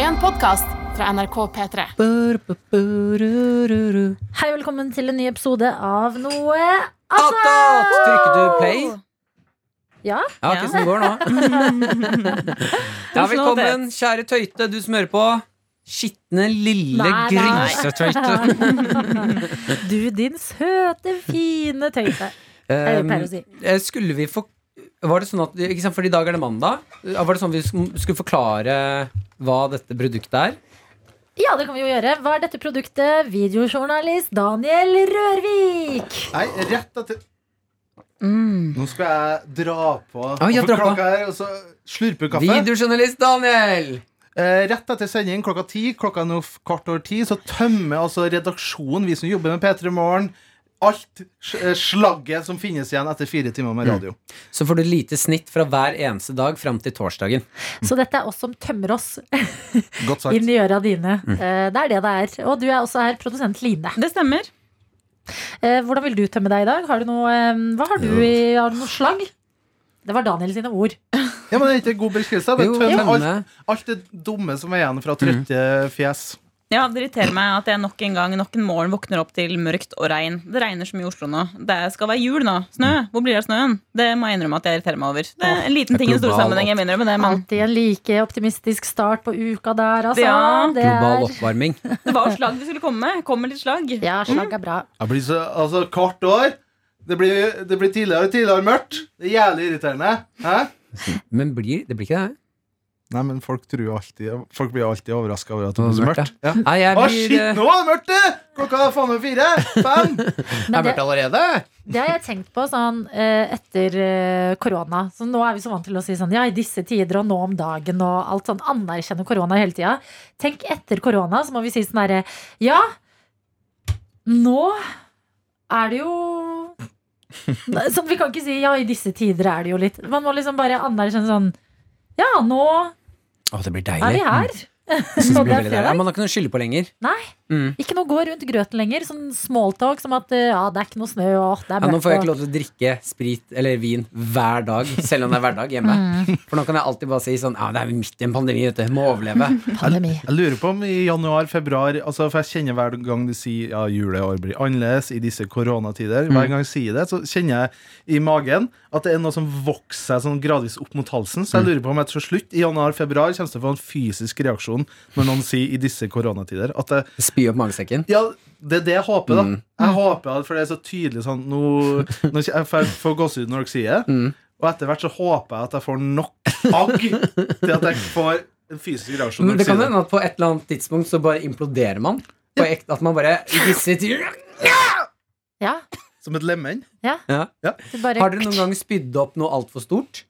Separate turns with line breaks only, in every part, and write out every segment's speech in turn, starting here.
en podkast fra NRK P3.
Attåt!
Hei, velkommen til en ny episode av Noe attåt!
Trykker du play?
Altså- Ja.
Ja,
Ja.
hvordan går det nå? Ja, velkommen, kjære tøyte, du smører på. Skitne, lille
Nei, nei.
grisetøyte. Um,
Du, din søte, fine tøyte. Jeg
Um,
pleier å si.
eh, Skulle vi få Var det sånn at ikke sant, For i dag er det mandag. Var det sånn vi skulle forklare hva dette produktet er?
Ja, det kan vi jo gjøre. Hva er dette produktet? Videojournalist Daniel Rørvik.
Nei, rett etter
Mm.
Nå skal jeg dra på
Oi, jeg
Og for
drar på.
klokka her, og så slurper kaffe
Videojournalist Daniel!
eh, Rett etter sending klokka ti Klokka er nå f- kvart over ti Så tømmer altså redaksjonen Vi som jobber med P3 Morgen Alt s- eh, slagget som finnes igjen etter fire timer
Mm.
med radio
Så får du lite snitt fra hver eneste dag fram til torsdagen.
Så dette er oss som tømmer oss
Godt sagt
inn i øra dine.
Mm.
Eh, Det er det det er. Og du er også her, produsent Line.
Det stemmer.
Eh, Hvordan vil du tømme deg i dag? Har du noe, eh, hva har du i Har du noe slag? Det var Daniel sine ord.
Ja, men det er ikke en god beskrivelse Bare
Jo, Mm.
tømme alt,
tømme.
alt det dumme som er igjen fra trøtte fjes
Ja, Det irriterer meg at jeg nok en gang nok en morgen våkner opp til mørkt og regn. Det regner så mye i Oslo nå. Det skal være jul nå. Snø. Hvor blir det av snøen? Det må jeg innrømme at jeg irriterer meg over. Det er en liten ting i den store
Global
sammenheng. Jeg må innrømme det, men
Alltid en like optimistisk start på uka der, altså.
Ja.
Det
Global
er,
oppvarming.
det var jo slag vi skulle komme med. Kommer litt slag.
ja, slag er bra.
Jeg blir så, altså, kvart år det blir, det blir tidligere og tidligere mørkt Det er jævlig irriterende Hæ?
Men blir, det blir ikke det?
Nei, men folk tror jo alltid Folk blir jo alltid overraska over at
Det
det
var
blir så
mørkt,
mørkt. Ja.
Nei, jeg
Å,
blir, eh,
shit, nå er det mørkt! det! Klokka er faen meg fire! Fem!
Men det,
allerede?
det har jeg tenkt på sånn eh, etter eh, korona. Så nå er vi så vant til å si sånn ja, i disse tider og nå om dagen og alt sånn. Anerkjenne korona hele tida. Tenk etter korona, så må vi si sånn herre ja, nå er det jo Nei, Sånn, Vi kan ikke si ja, i disse tider er det jo litt. Man må liksom bare anerkjenne sånn ja, nå
Å, det blir
er
deilig.
vi her.
Mm.
Så
Det
det
blir
er
veldig deilig. Ja,
fredag.
man har ikke noe å skylde på lenger.
Nei.
Mm.
Ikke noe gå rundt grøten lenger. Sånn smalltalk som at eh, ja, det er ikke noe snø og det er
Ja,
mørkt.
nå får
og-
jeg ikke lov til å drikke sprit eller vin hver dag, selv om det er hverdag hjemme.
Mm.
For nå kan jeg alltid bare si sånn Ja, det er midt i en pandemi, vet du. Må overleve.
Pandemi.
Jeg lurer på om i januar, februar altså For jeg kjenner hver gang du sier ja, jul i år blir annerledes i disse koronatider. Hver gang jeg sier det, så kjenner jeg i magen at det er noe som vokser seg sånn gradvis opp mot halsen. Så jeg lurer på om jeg til slutt i januar, februar kommer til å få en fysisk reaksjon når noen sier i disse koronatider. At det,
Spy opp magesekken. Mm.
Ja, det er det jeg håper, da. Jeg håper, at- For det er så tydelig sånn Nå, nå kj- jeg får- får gåsehud når dere sier det.
Mm.
Og etter hvert så håper jeg at jeg får nok agg til at jeg får en fysisk reaksjon. når
Men Mm,
dere
det kan
sier
hende at på et eller annet tidspunkt så bare imploderer man. På ekte, at man bare i disse tider-
Ja,
Som et lemen.
ja.
du bare
Har dere noen gang spydd opp noe altfor stort?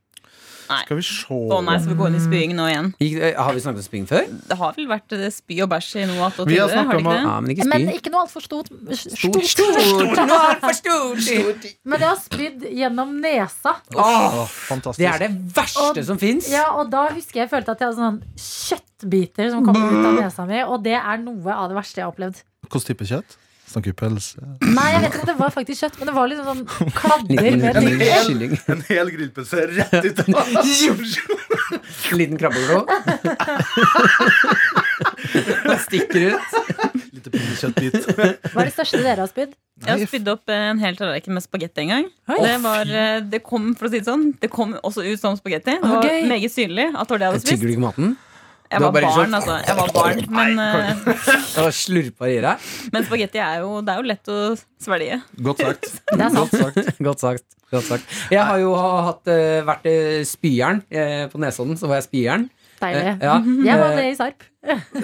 Skal vi se
Å nei, så vi går inn i spying nå igjen.
Gikk, eh, har vi snakket om spying før?
Det har vel vært eh, spy og bæsj i noe attåt
Vi har
tidligere,
snakket
har det ikke
om
det?
Ja, men ikke
Men
spying.
ikke noe altfor stort. Stort.
Stort, stort, noe altfor stort.
Men jeg har spydd gjennom nesa.
Åh,
Å, fantastisk.
det er det verste
Og-
som fins.
Ja, og da husker jeg jeg følte at jeg hadde sånn kjøttbiter som kom ut av nesa mi, og det er noe av det verste jeg har opplevd.
Hvilken type kjøtt? Snakker vi pølse?
Nei, jeg vet ikke om det var faktisk kjøtt, men det var liksom sånn kladder med
Liten
ting.
kylling.
En hel grillpølse rett ut av
Liten krabbeglo. Og stikker ut.
Lite pinnekjøttbit.
Hva er det største dere har spydd?
Jeg har spydd opp eh, en hel tallerken med spagetti en gang.
Oi.
Det, var, eh, det kom for å si det sånn Det kom også ut som spagetti. Det var
gøy.
meget synlig at det var det jeg hadde
Tygger
spist.
du ikke maten?
Jeg
Du
var
har bare
barn,
sånn-
altså. Jeg var barn Men, eh,
Og slurper i deg?
men spagetti er jo Det er jo lett å svelge.
Godt sagt.
Det er sant.
Godt sagt.
Godt sagt. godt sagt Jeg har jo ha- hatt, eh, vært eh, spyjern eh, på Nesodden. Så var jeg spyjern. Eh,
Deilig.
ja.
Jeg var
Eh,
det i Sarp.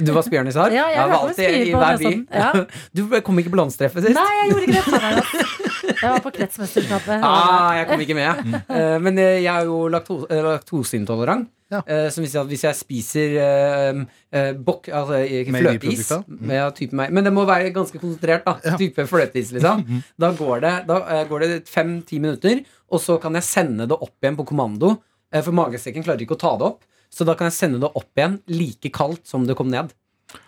Du var spyjern i Sarp?
Ja, jeg
var
var
alltid
spyer
i
på
hver by.
Nesodden, ja.
Du kom ikke på landstreffet sist.
Nei, jeg gjorde ikke det. Faen, jeg var- Jeg var på kretsmesterskapet.
Ah, jeg kom ikke med. Eh, men eh, jeg er jo lakto- eh, laktoseintolerant.
Ja.
Eh, som vil si at hvis jeg spiser eh, eh, bokk, altså eh, fløteis
Meieriprodukter.
ja, type meg, Men det må være ganske konsentrert, da. Type fløteis, liksom.
Mm.
Da går det, da, eh, går det fem-ti minutter, og så kan jeg sende det opp igjen på kommando. eh, for magesekken klarer ikke å ta det opp. Så da kan jeg sende det opp igjen like kaldt som det kom ned.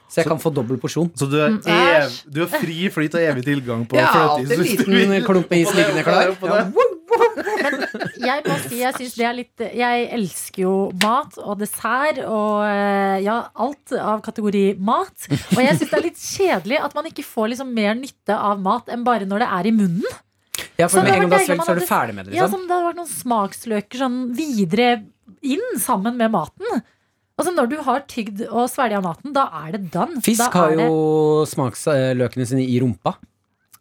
Så jeg kan få dobbel porsjon.
Så du er, ev,
æsj.
du er fri flyt og evig tilgang på
Mm, Ja,
fløteis
alltid en
hvis du vil.
liten klump med is liggende
Oppå det,
klar.
oppå det, oppå det.
Ja, woo, woo.
Jeg må si, jeg synes det er litt Jeg elsker jo mat og dessert og eh, ja, alt av kategori mat. Og jeg syns det er litt kjedelig at man ikke får liksom mer nytte av mat enn bare når det er i munnen.
Ja, for
Så
med
da
en gang du har
velger
svelget,
man
så er du
at
ferdig med det.
Ja,
Liksom.
som det hadde vært noen smaksløker sånn videre inn sammen med maten. Altså Når du har tygd og svelget maten, da er det done. da
Fisk
er
har jo smaksløkene sine i rumpa.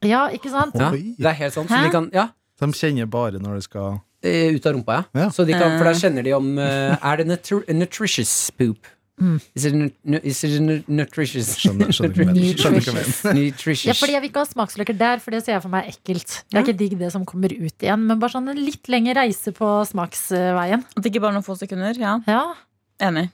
det, Ja, ikke sant?
Ja,
Oi.
det er helt sånn. Så
Hæ?
de kan, ja,
De kjenner bare når det skal
eh, ut av rumpa, ja.
Ja.
Så de kan, for da kjenner de om eh, Er det nutri nutritious poop?
Mm.
Is it, nu nu- is it nu nutritious?
Skjønner, skjønner ikke hva jeg mener. Skjønner ikke hva jeg mener.
nutritious.
Ja, fordi Jeg vil ikke ha smaksløker der, for det ser jeg for meg er ekkelt. Det er ikke digg det som kommer ut igjen, men bare sånn en litt lengre reise på smaksveien.
At det ikke bare er noen få sekunder. Ja,
Ja,
Enig.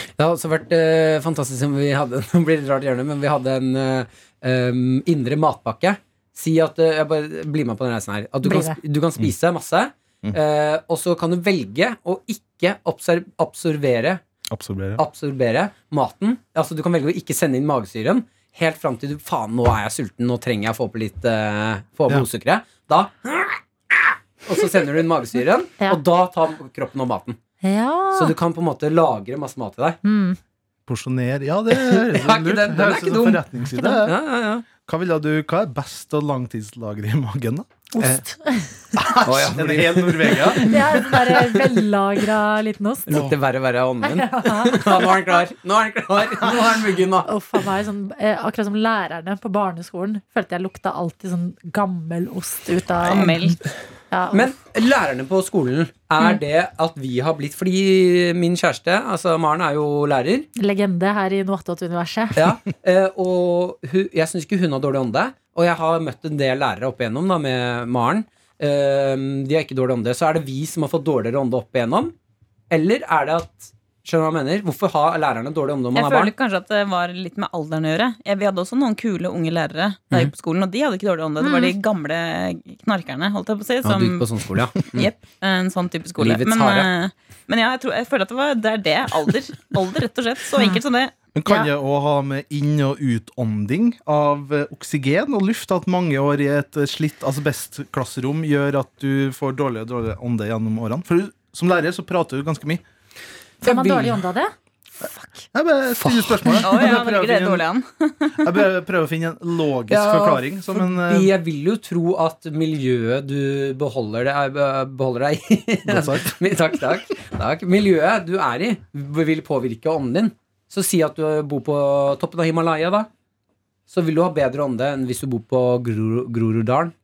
Det har også vært eh, fantastisk om vi hadde Nå blir det rart hjørne, men vi hadde en eh, em, indre matpakke. Si at eh, jeg bare, Bli med på den reisen her. At du,
Bli
kan, sp- du kan
Mm.
spise masse, eh, og så kan du velge å ikke absor- absorbere,
Absorbere.
absorbere maten. Altså Du kan velge å ikke sende inn magesyren helt fram til du Faen, nå er jeg sulten, nå trenger jeg å få på litt eh, Få opp
Ja.
blodsukkeret. Da Og så sender du inn magesyren,
Ja.
og da tar kroppen opp maten.
ja.
Så du kan på en måte lagre masse mat til deg.
Mm.
Porsjonere Ja, det liksom høres
Ja, ikke
ut lurt.
den- den er
Høres ut
ikke
som
dum.
forretningsidé.
Ja, ja, ja.
Hva, ville du, hva er best å lagringslagre i magen, da?
Ost.
Å, ja.
En hel Norvegia?
Det er en der vellagra liten ost.
Det lukter verre og verre av ånden min. Ja, nå er han klar! Nå er han klar Nå er han muggen, da.
Uff a meg. Sånn, eh, akkurat som lærerne på barneskolen følte jeg lukta alltid sånn gammel ost ut av
Og melk.
Ja, uff.
Men lærerne på skolen, er det at vi har blitt Fordi min kjæreste, altså Maren, er jo lærer.
Legende her i Noatot-universet.
Ja, eh, og hun, jeg syns ikke hun har dårlig ånde. Og jeg har møtt en del lærere opp igjennom da, med Maren. Eh, De har ikke dårlig ånde. Så er det vi som har fått dårligere ånde opp igjennom? Eller er det at Skjønner du hva jeg mener? Hvorfor har lærerne dårlig ånde om man er
Jeg
barn?
føler kanskje at det var litt med alderen å gjøre. Jeg- Vi hadde også noen kule unge lærere da jeg gikk på skolen, og de hadde ikke dårlig ånde. Det var de gamle knarkerne, holdt jeg på å si.
Ja, du gikk
Som,
på sånn skole, ja. Mm.
Jepp, en sånn type skole.
Livets
Men,
harde.
eh, men ja, jeg, tror, jeg føler at det, var, det er det. Alder. Alder, rett og slett. Så enkelt som det.
Men kan det òg ha med inn- og utånding av eh, oksygen og luft? At mange år i et eh, slitt asbestklasserom gjør at du får dårligere og dårligere ånde gjennom årene? For du- som lærer så prater du ganske mye.
Får man
Jeg vil-
dårlig ånde av det?
Jeg bare stiller spørsmålet.
Å ja,
Jeg
det er
Mhm. prøver å
ikke det
finne
dårlig
en-
an.
jeg bare prøver å finne en logisk
Ja,
forklaring. Som en, eh,
fordi jeg vil jo tro at miljøet du beholder deg, eh, beholder deg i
Godt sagt.
Mi- Takk, takk, takk. Miljøet du er i, vil påvirke ånden din. Så si at du bor på toppen av Himalaya, da. Så vil du ha bedre ånde enn hvis du bor på Gro- Groruddalen.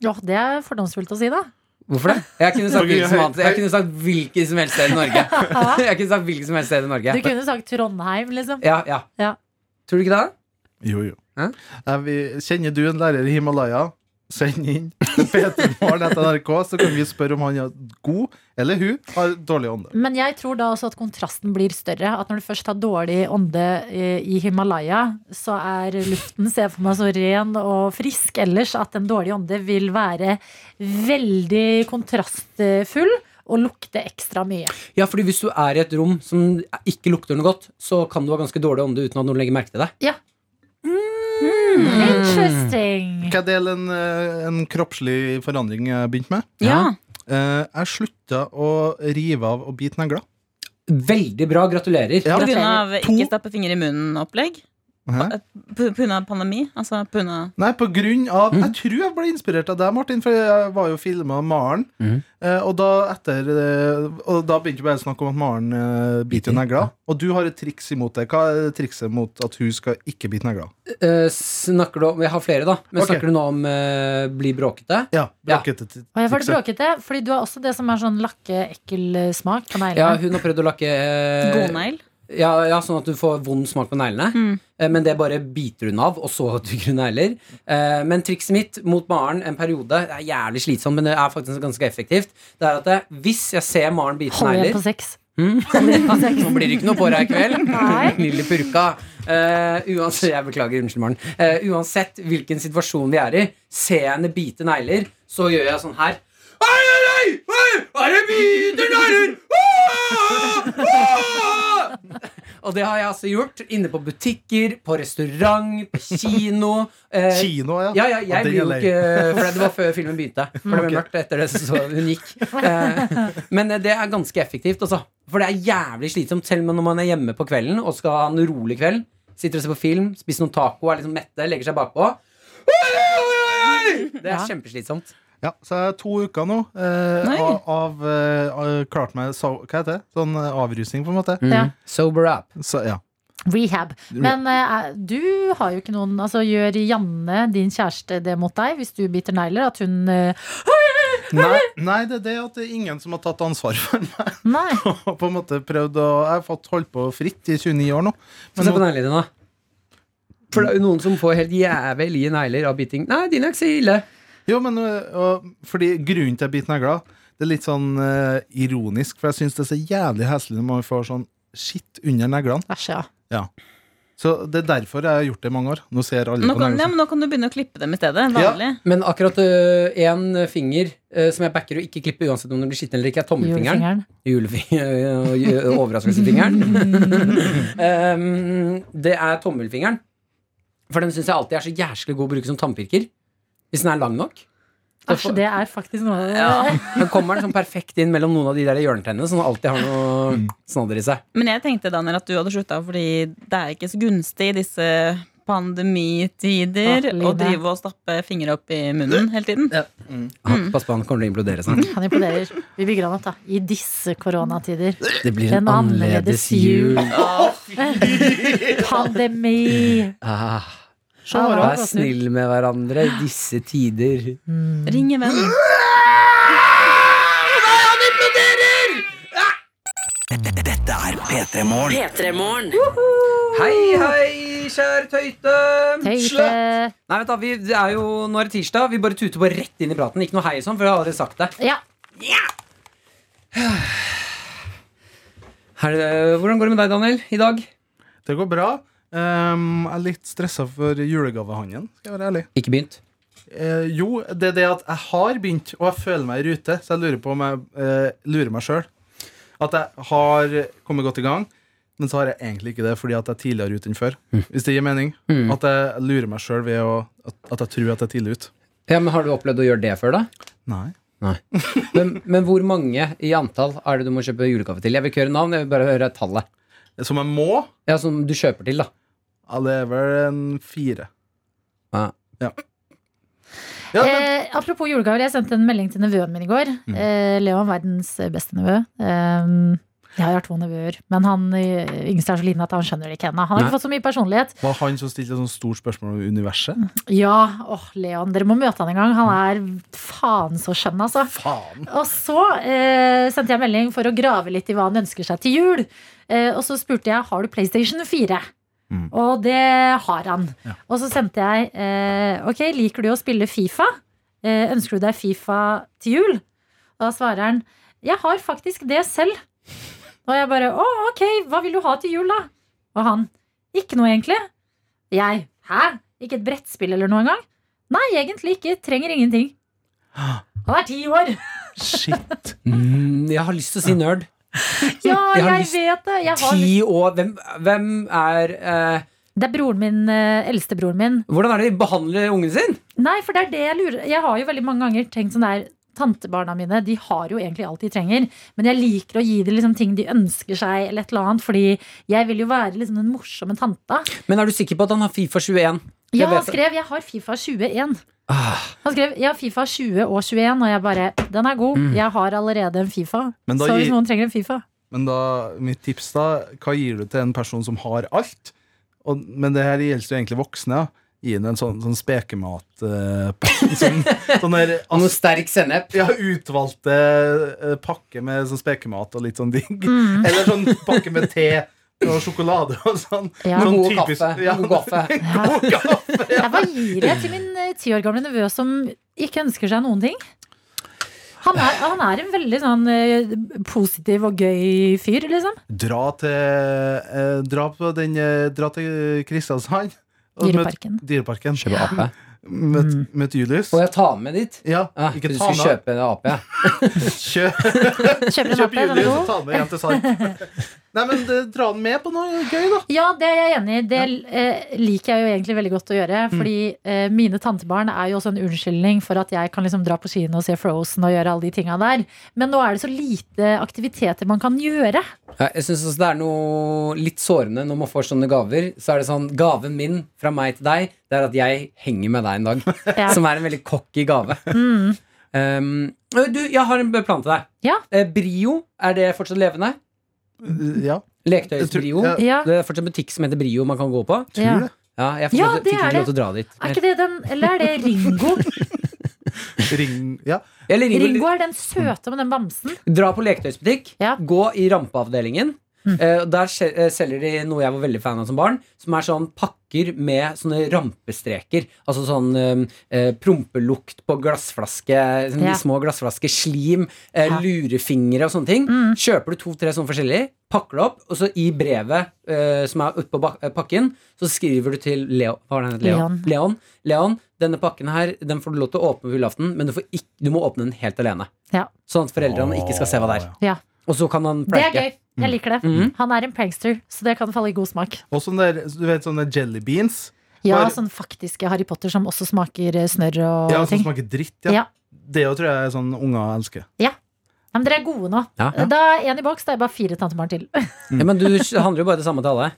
Ja, det er fordomsfullt å si, da.
Hvorfor det? Jeg kunne sagt
Fordi
hvilket som,
jeg-
annet. Jeg kunne sagt hvilket som helst sted i Norge. Jeg kunne sagt hvilket som helst sted i
Du
Norge.
kunne sagt Trondheim, liksom.
Ja, ja.
Ja.
Tror du ikke det?
Jo, jo.
Hæ?
Nei, vi, kjenner du en lærer i Himalaya? Send inn til p3morgen.nrk, så kan vi spørre om han er god eller hun har dårlig ånde.
Men jeg tror da også at kontrasten blir større. At når du først har dårlig ånde eh, i Himalaya, så er luften ser jeg for meg så ren og frisk ellers at en dårlig ånde vil være veldig kontrastfull og lukte ekstra mye.
Ja, fordi hvis du er i et rom som ikke lukter noe godt, så kan du ha ganske dårlig ånde uten at noen legger merke til deg.
Hmm, Interesting!
Hva er del en, eh, en kroppslig forandring jeg begynte med?
Ja.
Eh, jeg slutta å rive av og bite negler.
Veldig bra, gratulerer.
Ja.
På grunn av
To-
ikke stappe fingre i munnen-opplegg.
Hæ?
På på grunn av pandemi. Altså på grunn av
Nei, på grunn av Jeg tror jeg ble inspirert av deg, Martin, for jeg var jo filma Maren.
Mhm.
Eh, og, da etter, eh, og da begynte vi bare å snakke om at Maren eh, biter jo negler. Og du har et triks imot det. Hva er trikset mot at hun skal ikke bite negler?
Eh, snakker du om Jeg har flere, da. Men
Ok.
snakker du nå om eh, bli bråkete?
Ja,
Ja.
bråkete ja.
Og jeg var bråkete, fordi du har også det som er sånn lakke-ekkel smak på
Ja,
neglene.
hun har prøvd å lakke eh,
godnegl.
ja, ja, sånn at du får vond smak på neglene.
Mm.
Eh, men det bare biter hun av, og så tygger hun negler. Eh, men trikset mitt mot Maren en periode Det er jævlig slitsomt, men det er faktisk ganske effektivt. Det er at eh, hvis jeg ser Maren bite
Holder igjen
negler
på sex.
Nå blir det ikke noe på deg i kveld.
Nei.
Lille purka. Eh, uansett, jeg beklager, unnskyld, Maren. Eh, uansett hvilken situasjon vi er i, ser jeg henne bite negler, så gjør jeg sånn her. Oi, oi, oi! oi, Hva er det biter negler? Åh! Åh! Og det har jeg altså gjort. Inne på butikker, på restaurant, på kino. eh,
Kino, ja.
Ja, ja,
Og
jeg
den
blir jo
er lei.
ikke eh, For det var før filmen begynte. For det ble mørkt etter det, så hun gikk. Eh, Men det er ganske effektivt, altså. For det er jævlig slitsomt, selv om når man er hjemme på kvelden og skal ha en rolig kveld. Sitter og ser på film, spiser noen taco, er liksom mette, legger seg bakpå. Det er kjempeslitsomt.
Ja, så jeg er to uker nå eh,
Nei.
av, av eh, klart meg so, Hva heter det? Sånn eh, avrusning, på en måte.
Ja.
Sober up.
Så, ja.
Rehab. Men eh, du har jo ikke noen altså, Gjør Janne, din kjæreste, det mot deg hvis du biter negler? At hun eh,
Nei, nei, det er det at det er ingen som har tatt ansvar for meg.
Nei.
Og på en måte prøvd å, Jeg har fått holdt på fritt i 29 år nå.
Få se på neglene dine, da. For det er jo noen som får helt jævlige negler av biting. Nei, dine er ikke så ille.
Jo, men øh, og, fordi grunnen til at jeg biter negler Det er litt sånn øh, ironisk For jeg synes det er så jævlig heslig Når man får sånn skitt under neglene
Æsj, ja.
Så det er derfor jeg har gjort det i mange år Nå ser alle
Nå
på
kan, ja,
neglene
men nå kan du begynne å klippe dem i stedet. Vanlig.
Men akkurat én finger ø, som jeg backer å ikke klippe uansett om den blir skitten eller ikke, er tommelfingeren.
Julefingeren.
Julefingeren og ju- overraskelsesfingeren. um, det er tommelfingeren. For den syns jeg alltid er så jæsklig god å bruke som tannpirker. Hvis den er lang nok. Så
Æsj,
får-
det er faktisk noe av det.
Den kommer den sånn perfekt inn mellom noen av de der hjørnetennene, så den alltid har
Mm.
noe snadder i seg.
Men jeg tenkte Daniel, at du hadde slutta fordi det er ikke så gunstig i disse pandemitider
Å, livet.
å drive og stappe fingre opp i munnen hele tiden.
Mm.
Ah, Pass på, han kommer til å implodere snart.
Han imploderer. Vi bygger han opp, da. I disse koronatider.
Det blir
En annerledes jul. Pandemi.
Ah,
Sånn var det.
vær snill med hverandre i disse tider.
Ring en venn.
P3-morgen.
Hei, hei, kjære tøyte.
Tøyte.
Nei, vent da, vi, det er jo, Nå er det tirsdag. Vi bare tuter på rett inn i praten. Ikke noe hei og sånn, for jeg har allerede sagt det.
Ja.
Her, eh, hvordan går det med deg, Daniel, i dag?
Det går bra Ehm, Jeg er litt stresset for julegavehandelen Skal jeg være ærlig
Ikke begynt.
Eh, Jo, det er det at jeg har begynt Og jeg føler meg i rute Så jeg lurer på om jeg eh, lurer meg selv At jeg har kommet godt i gang Men så har jeg egentlig ikke det Fordi at jeg er tidligere ut enn før Hvis det gir mening
Mm.
At jeg lurer meg selv ved å At, at jeg tror at jeg er tidlig ut
Ja, men Har du opplevd å gjøre det før, da?
Nei
Men, men hvor mange i antall er det du må kjøpe julegave til? Jeg vil ikke høre navn, jeg vil bare høre tallet.
Som jeg må
Ja, Som du kjøper til, da.
Ja, det er vel en fire
Ja.
Ja, ja men,
Eh, apropos julegaver, jeg sendte en melding til nevøen min i går. Eh, Leon, verdens beste nevø. Eh, jeg har to nevøer, men han eh, yngste er så liten at han skjønner det ikke ennå. Han har ikke fått så mye personlighet.
Var han som stilte et sånt stort spørsmål om universet?
Ja, åh, Leon, dere må møte han en gang. Han er faen så skjønn, altså.
Faen
Og så eh, sendte jeg melding for å grave litt i hva han ønsker seg til jul. Eh, og så spurte jeg har du PlayStation 4.
Mm.
Og det har han. Og så sendte jeg eh, ok, liker du å spille Fifa? Eh, ønsker du deg Fifa til jul? Da svarer han jeg har faktisk det selv. Og jeg bare å, ok, hva vil du ha til jul, da? Og han ikke noe, egentlig. Jeg hæ? Ikke et brettspill eller noe engang? Nei, egentlig ikke. Trenger ingenting. Han er ti år!
Shit
Mm, jeg har lyst til å si nerd.
Ja,
Jeg har
jeg,
lyst-
vet det. Jeg har,
Ti år Hvem, hvem er eh,
det er broren min, eh, eldstebroren min.
Hvordan er det de behandler ungen sin?
Nei, for det er det jeg lurer Jeg har jo veldig mange ganger tenkt sånn der Tantebarna mine de har jo egentlig alt de trenger, men jeg liker å gi dem liksom ting de ønsker seg, eller et eller annet, fordi jeg vil jo være liksom den morsomme tanta.
Men er du sikker på at han har Fifa 21? Jeg
Ja, han
vet det.
skrev 'Jeg har Fifa 21'.
Ah,
Han skrev 'Jeg har Fifa 20 og 21', og jeg bare 'Den er
Mm.
god. Jeg har allerede en Fifa'.
Men da
Så hvis
gir-
noen trenger en Fifa
Men da, mitt tips da Hva gir du til en person som har alt? Og, men det her gjelder jo egentlig voksne ja. Gi henne en sånn, sånn spekemat eh, pa- Sånn, sånn der
og noe
altså,
sterk sennep.
ja, Utvalgte eh, pakke med sånn spekemat Og litt sånn digg Eller sånn pakke med te og sjokolade og sånn,
Ja.
sånn
God kaffe.
ja,
God kaffe.
god kaffe.
Jeg bare gir jeg til min eh, ti år gamle nevø som ikke ønsker seg noen ting. Han er, han er en veldig sånn eh, positiv og gøy fyr, liksom.
Dra til eh, Dra på den eh, Dra til Kristiansand og møt-
Dyreparken. Mm.
Dyreparken
Kjøpe ape.
Møt, møt Julius
Og jeg tar med dit.
Ja,
Ah,
ikke
du
ta
skal
med
kjøpe en ape, ja.
Kjøp
Kjøper en
Kjøp
mappe, den
Julius
er
og
god.
ta med hjem til Sarp. Nei, men eh, dra den med på noe gøy, da.
Ja, det er jeg enig i. Det eh, liker jeg jo egentlig veldig godt å gjøre. Fordi eh, mine tantebarn er jo også en unnskyldning for at jeg kan liksom dra på kino og se Frozen og gjøre alle de tinga der. Men nå er det så lite aktiviteter man kan gjøre.
Ja, Jeg synes også det er noe litt sårende når man får sånne gaver. Så er det sånn Gaven min fra meg til deg, det er at jeg henger med deg en dag.
Ja. Mm.
Som er en veldig cocky gave. Um, du, jeg har en plan til deg.
Ja.
Eh, Brio, er det fortsatt levende?
Ja,
Leketøysbrio.
Jeg tror-
Ja.
Det er fortsatt en butikk som heter Brio man kan gå på.
Ja.
det.
Ja, jeg fikk,
Ja,
lov-
det
fikk
er
ikke
det.
lov til å dra dit.
Er ikke det den Eller er det Ringo?
Ring, ja.
Eller Ringo,
Ringo er den søte med den bamsen.
Dra på leketøysbutikk,
Ja. Mm.
gå i rampeavdelingen. Eh, og der skje- eh, selger de noe jeg var veldig fan av som barn, som er sånn pakker med sånne rampestreker. Altså sånn eh, eh, prompelukt på glassflaske, sånne
Ja.
små glassflasker, slim, eh,
Ja. Mm.
lurefingre og sånne ting. Kjøper du to-tre sånne forskjellige, pakker det opp, og så i brevet eh, som er utpå bak- eh, pakken, så skriver du til Leo, hva var det han het? Leon. Leon. Leon, denne pakken her, den får du lov til å åpne på julaften, men du, får ikk- du må åpne den helt alene.
Ja.
Sånn at foreldrene ikke skal se hva det er.
Ja.
Og så kan han
Det er
pranke. Mm.
gøy. Jeg liker det. Han er en prankster, så det kan falle i god smak.
Og sånn der, du vet sånne jelly beans?
Ja,
Bare-
sånn faktiske Harry Potter som også smaker eh, snørr og
Ja, som
ting.
smaker dritt.
Ja.
Ja. Det jo tror jeg er sånn unger elsker.
Ja, men dere er gode nå.
Ja. Ja.
Da er én i boks, da er jeg bare fire tantebarn til.
men du handler jo bare det samme til alle.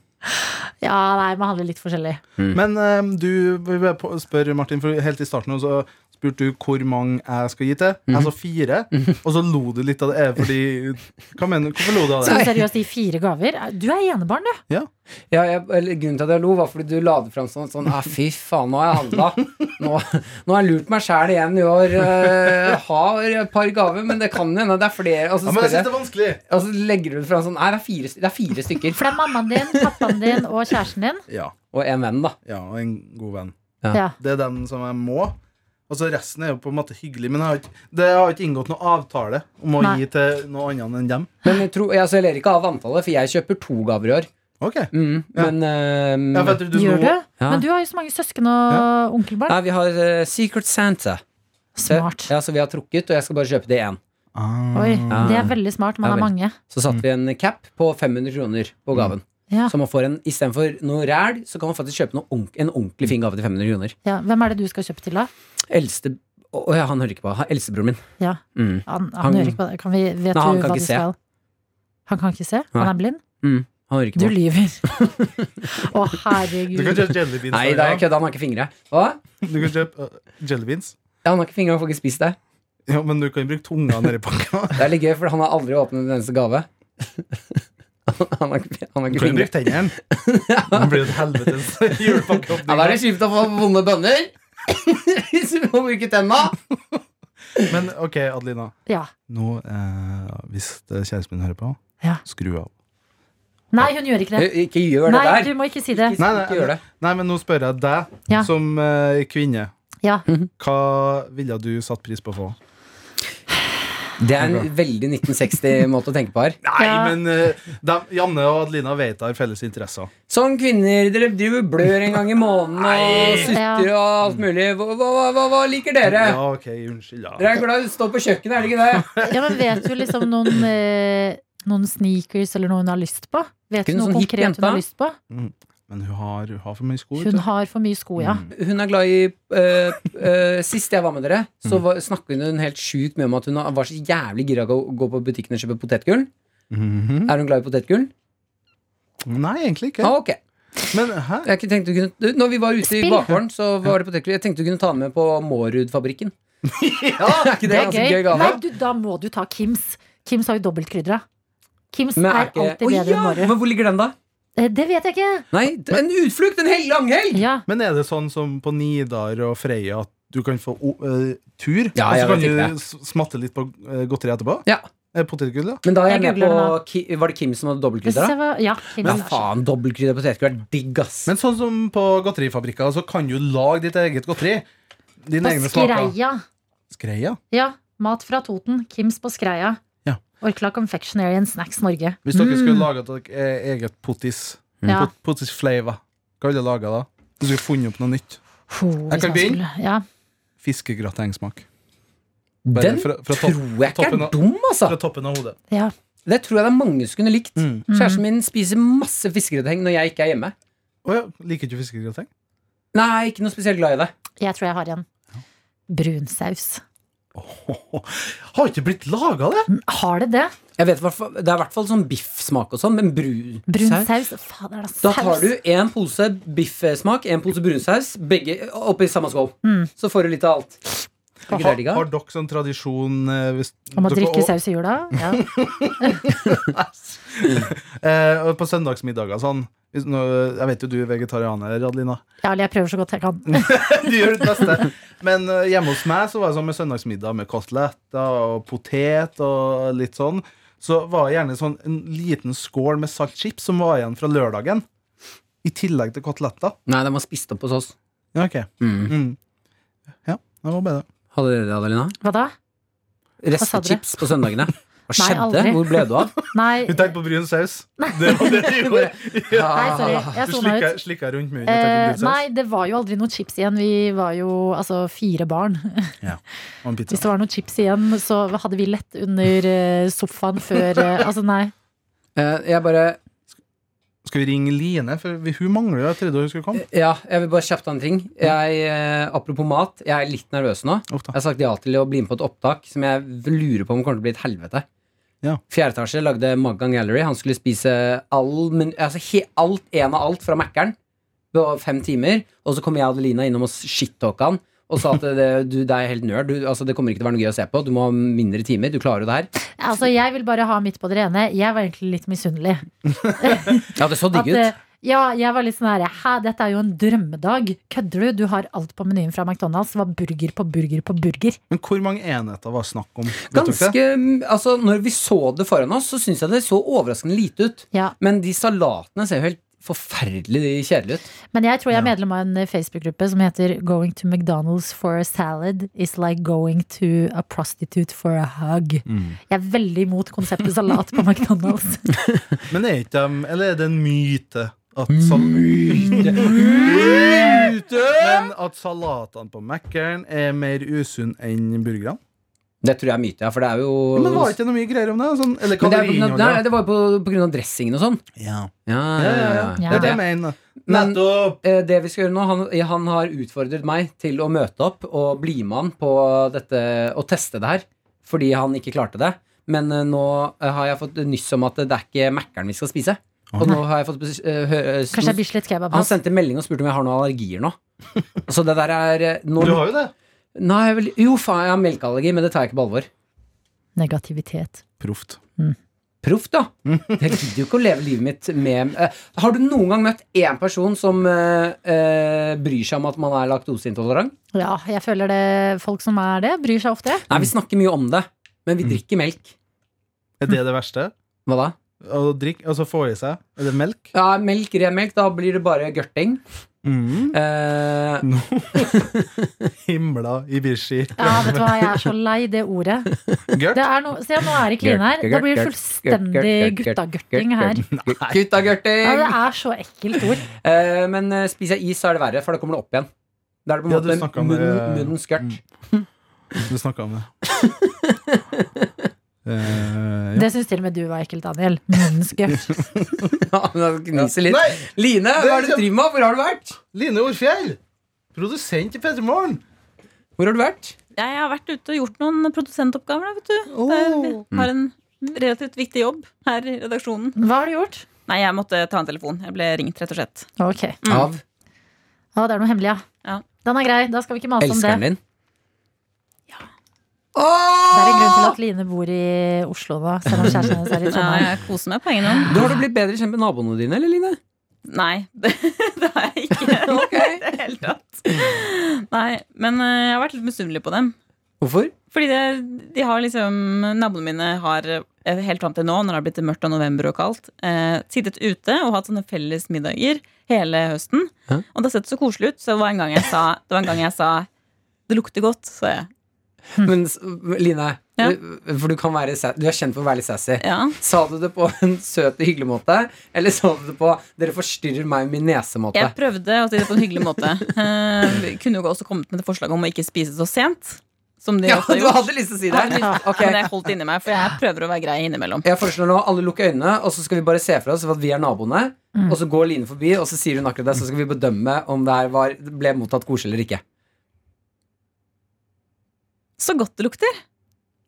Ja, nei, man handler litt forskjellig.
Men eh, du vi vil på- spør Martin, for helt i starten nå så spurte du hvor mange jeg skal gi til. Jeg sa fire, og så lo du litt av det. Er det Fordi, hva mener du? Hvorfor lo du av
Så
det?
seriøst, de fire gaver Du er enebarn, du.
Ja, jeg, eller, grunnen til at jeg lo, var fordi du la det fram sånn sånn ah, Fy faen, nå har jeg handla. Nå, nå har jeg lurt meg sjæl igjen i år. eh, har et par gaver, men det kan hende det er flere. Og så,
Ja, men
spør
jeg synes
jeg,
det er vanskelig.
og så legger du det fram sånn Nei, det er fire, st- det er fire stykker.
For det er mammaen din, pappaen din og kjæresten din.
Ja,
Og en venn, da.
ja, og en god venn.
Ja.
Det er den som jeg må. Og så resten er jo på en måte hyggelig, men jeg har ikke, det har ikke inngått noen avtale om å
Nei.
gi til noe annet enn dem.
Men jeg, tror, jeg, altså, jeg ler ikke av antallet, for jeg kjøper to gaver i år.
Ok.
Mm,
Ja.
Men eh,
Ja, for jeg tror du
Gjør
lo-
du?
Ja.
Men du har jo så mange søsken og onkelbarn.
Nei, vi har eh, Secret Santa. Så-
Smart.
Ja, Så vi har trukket, og jeg skal bare kjøpe det én.
Ah.
Oi,
Ja.
det er veldig smart. Man
Ja,
er
vel.
mange.
Så
Mm.
satte vi en cap på 500 kroner på gaven.
Ja.
Så man får en, istedenfor noe ræl, så kan man faktisk kjøpe noe ordent- en ordentlig fin gave til 500 kroner.
Ja. Hvem er det du skal kjøpe til, da?
Eldste Å å ja, han hører ikke på. Han- Eldstebroren min.
Ja.
Mm.
Han, han,
Han-
hører ikke på det. Kan vi, vet
Nei, han
du
kan
hva
ikke
du
se.
skal? Han kan ikke se? Han
Nei.
er blind?
Mm. Han hører ikke
Du
på.
lyver. Å,
Du kan
herregud.
kjøpe jelly beans.
Nei, det
da,
er
ja.
jeg kødda. Han har ikke fingre. Hva?
Du kan kjøpe uh, jelly beans.
Ja, han har ikke fingre, han får ikke spist det.
Ja, men du kan bruke tunga nedi pakka.
Det er litt gøy, for han har aldri åpnet en eneste gave. han har ikke, han har
Du
ikke
kan
fingre.
bruke tennene. Det blir jo et helvetes
Ja, da er
julepakkeåpning.
det kjipt å få vonde bønner hvis du må bruke tenna.
Men ok, Adelina.
Ja.
Nå, eh, hvis eh, kjæresten min hører på,
Ja.
skru av.
Nei, hun gjør ikke det.
Ikke gjør det
Nei,
der.
du må ikke si det.
Ikke,
Nei, nei,
ikke gjør det.
Nei, men nå spør jeg deg,
Ja.
som eh, kvinne.
Ja.
Hva ville du satt pris på å få?
Det er en veldig 1960-måte å tenke på her.
Nei,
Ja.
men eh, dem- Janne og Adelina vet jeg har felles interesser.
Sånn, kvinner, dere driver og blør en gang i måneden og sutter og alt mulig. Hva, hva, hva- hva, hva liker dere?
Ja, ok, unnskyld. Ja.
Dere er glad i å stå på kjøkkenet, er det ikke det?
Ja, men vet du liksom noen, eh, noen sneakers eller noe hun har lyst på? Vet
Ikke
du
en
noe
sånn hipp
konkret
jente?
hun har lyst på?
Men hun har, hun har for mye sko. vet
Hun
du.
har for mye sko, ja.
Hun er glad i eh, eh, Sist jeg var med dere, så var, snakket hun helt sjukt mye om at hun var så jævlig gira på å gå på butikken og kjøpe potetgull.
Mhm.
Er hun glad i potetgull?
Nei, egentlig ikke.
Ah, ok.
Men hæ?
Jeg ikke tenkte du kunne, du, når vi var ute i
Spill.
bakgården, så var det potetgull. Jeg tenkte du kunne ta den med på Mårud-fabrikken. er ikke det,
Det er
ganske gøy
gøy.
gave?
Nei, du, da må du ta Kims. Kims har jo dobbeltkrydra. Kims
Men
er
ikke-
alltid
Å,
bedre enn
ja,
våre.
Men hvor ligger den, da?
Eh, Det vet jeg ikke.
Nei, d- en utflukt! En hel langhelg!
Ja.
Men er det sånn som på Nidar og Freia at du kan få o- eh, tur,
Ja, jeg
og så kan
vet ikke
du s- smatte litt på uh, godteri etterpå?
Ja.
Eh, Potetgull, ja.
Men da er
Jeg
jeg, med
googler
på
den da.
Ki, Var det Kim som hadde
Hvis jeg
dobbeltkrydder? da?
var- Ja,
Ja,
Kims.
faen, dobbeltkrydder potetgull er digg, ass.
Men sånn som på godterifabrikker, så kan du lage ditt eget godteri. Dine
På
egne smaker.
Skreia.
Skreia.
Ja. Mat fra Toten. Kims på Skreia.
Ja.
Orkla Confectionery and Snacks Norge.
Hvis dere skulle laga deres e- eget pottis,
Mm.
Mm.
Ja.
pot, pottis flavor, hva ville dere laga da? Hvis du skulle funnet opp noe nytt?
Ho, hvis jeg
kan begynne.
skulle- Ja.
Fiskegratengsmak. Bare
Den
fra, fra, topp,
tror jeg ikke
toppen
er
av-
dum, altså.
fra toppen av hodet.
ja.
Det tror jeg det er mange som kunne likt.
Mm.
Kjæresten min spiser masse fiskegrateng når jeg ikke er hjemme.
Å ja, liker du ikke fiskegrateng?
Nei, ikke noe spesielt glad i det.
Jeg tror jeg har en. Brunsaus.
Har ikke blitt laga, det?
Har det det?
Jeg vet, hvertfall- det er i hvert fall sånn biffsmak og sånn, men brun saus
Brunsaus? Fader, det er
Da
saus.
tar du en pose biffsmak, en pose brunsaus, begge oppi samme skål.
Mm.
Så får du litt av alt. Er ikke det
Har,
digga?
har dere sånn tradisjon eh, hvis,
Om å
dere-
drikke saus i jula? Ja.
Eh, og på søndagsmiddager sånn hvis, nå, Jeg vet jo du er vegetarianer, Adelina.
ja, eller jeg prøver så godt jeg kan.
Du gjør ditt beste. Men eh, hjemme hos meg så var det sånn med søndagsmiddag med koteletter og potet og litt sånn. Så var det gjerne sånn en liten skål med salt chips som var igjen fra lørdagen. I tillegg til koteletter.
Nei, de var spist opp hos oss.
Ja, ok. Mm. Ja, det var bedre.
Hadde dere det, Adelina?
Hva da? sa dere?
Restechips på søndagene. Hva
Nei,
skjedde?
aldri.
Hvor ble du av?
Nei,
Hun tenkte på brun saus. Det var det du gjorde.
nei sorry. Jeg
Du
sona ut.
slikka- slikka rundt munnen
Eh,
og tenkte på brun saus.
nei, det var jo aldri noe chips igjen. Vi var jo altså fire barn.
Og en pizza.
Hvis det var noe chips igjen, så hadde vi lett under eh, sofaen før eh, Altså, nei.
Eh, Jeg bare
Skal vi ringe Line? For vi- hun mangler jo. Jeg trodde hun skulle komme.
Ja, jeg vil bare kjapt ha en ting. Jeg, eh, apropos mat, jeg er litt nervøs nå.
Uff da.
Jeg har sagt ja til å bli med på et opptak som jeg lurer på om kommer til å bli et helvete.
Ja.
Fjerde etasje lagde Maggan Gallery. Han skulle spise all, men, altså, he, alt, en av alt fra Mækkern på fem timer. Og så kom jeg og Adelina innom og shit-talka han og sa at det, du, det er helt nerd. Du, altså, det kommer ikke til å være noe gøy å se på. Du må ha mindre timer. Du klarer jo det her.
Altså, jeg vil bare ha midt på det rene. Jeg var egentlig litt misunnelig.
Ja, det så
At,
digg
eh,
ut.
ja, jeg var litt sånn her Hæ, dette er jo en drømmedag. Kødder du? Du har alt på menyen fra McDonald's. Det var burger på burger på burger.
Men hvor mange enheter var snakk om? Vet dere det?
Ganske, altså, når vi så det foran oss, så syns jeg det så overraskende lite ut.
Ja.
Men de salatene ser jo helt forferdelig kjedelige ut.
Men jeg tror jeg er
Ja.
medlem av en eh, Facebook-gruppe som heter Going to McDonald's for a salad is like going to a prostitute for a hug. Jeg er veldig imot konseptet salat på McDonald's.
Men er ikke dem Eller er det en myte? At sal
Mm.
myte. Men at salatene på Mækkern er mer usunn enn burgerne?
Det tror jeg er myte, ja, for det er jo
Men var det ikke noe mye greier om det? Sånn, eller
Men det, er på grunn av, nei,
kaloriinnholdet?
det var jo på, på grunn av dressingen og sånn.
Ja.
Ja,
Ja, ja, ja.
Ja.
Det er det jeg mener.
Men-
Nettopp!
Eh, Det vi skal gjøre nå, han, han har utfordret meg til å møte opp og bli med han på dette og teste det her. Fordi han ikke klarte det. Men eh, nå eh, har jeg fått nyss om at det er ikke Mækkern vi skal spise. Og nå har jeg fått bes- eh, hø-
Kanskje
eh,
det er
stor-
Bislett Kebab.
Han
ass.
sendte melding og spurte om jeg har noen allergier nå. Så det der er eh, nå,
Du har jo det.
Nei, jeg vil, Jo, faen, jeg har melkeallergi, men det tar jeg ikke på alvor.
Negativitet.
Proft.
Proff, da. Jeg gidder jo ikke å leve livet mitt med eh, Har du noen gang møtt én person som eh, eh, bryr seg om at man er laktoseintolerant?
Ja, jeg føler det folk som er det, bryr seg ofte.
Nei, vi snakker mye om det, men vi
Mm.
drikker melk.
Er det det verste?
Hva da?
Å drikke, og så få i seg Er det melk?
Ja, melk, ren melk, da blir det bare gørting.
Mm.
Eh,
Himla i Birsi.
Ja, vet du hva, jeg er så lei det ordet.
Gørt?
Det er noe- Se, nå er det kline her. Da blir det fullstendig guttagørting her.
gutta
Ja,
gørting!
det er så ekkelt ord.
Eh, men eh, spiser jeg is, så er det verre, for da kommer det opp igjen. Da er det på en
Ja, du snakket
måte
om det- Mm.
munn, munnens gørt.
Du snakka om det. Eh, ja.
Det syns til og med du var ekkelt, Daniel. Menneskegørt.
Ja, men det gniser litt.
Nei!
Line, hva er det du driver med? Hvor har du vært?
Line Orfjell! Produsent i P3 Morgen.
Hvor har du vært?
Jeg har vært ute og gjort noen produsentoppgaver. da, vet du.
Oh.
Jeg har en relativt viktig jobb her i redaksjonen.
Hva har du gjort?
Nei, jeg måtte ta en telefon. Jeg ble ringt, rett og slett.
Ok.
Av
Ja, det er noe hemmelig, ja.
Ja.
Den er grei. Da skal vi ikke mase om det.
elskeren din?
Det er en grunn til at Line bor i Oslo nå, selv om kjæresten hennes er sånn i
Ja,
Trondheim.
jeg koser meg på egen hånd.
Du har du blitt bedre kjent med naboene dine, eller Line?
Nei, det, det har jeg ikke.
Ok.
I det hele tatt. Nei, men eh, jeg har vært litt misunnelig på dem.
Hvorfor?
Fordi det, de har liksom Naboene mine har eh, helt fram til nå, når det har blitt mørkt av november og kaldt, eh, sittet ute og hatt sånne felles middager hele høsten.
Hæ?
Og det har sett så koselig ut, så det var en gang jeg sa det, var en gang jeg sa, det lukter godt, sa jeg.
Men s- Line,
Ja.
du- for du, kan være, sa- du er kjent for å være litt sassy.
Ja.
Sa du det på en søt og hyggelig måte, eller sa du det på 'dere forstyrrer meg med min
Jeg
nese'-måte?
prøvde å si det på en hyggelig måte. Eh, vi kunne jo også kommet med et forslag om å ikke spise så sent. Som de
Ja,
ofte har
du
gjort.
hadde lyst til å si det. Ok.
Men jeg holdt inni meg, for jeg prøver å være grei innimellom.
Jeg foreslår nå alle lukker øynene, og så skal vi bare se for oss at vi er naboene.
Mm.
Og så går Line forbi, og så sier hun akkurat det, så skal vi bedømme om det her var, ble mottatt koselig eller ikke.
Så godt det lukter.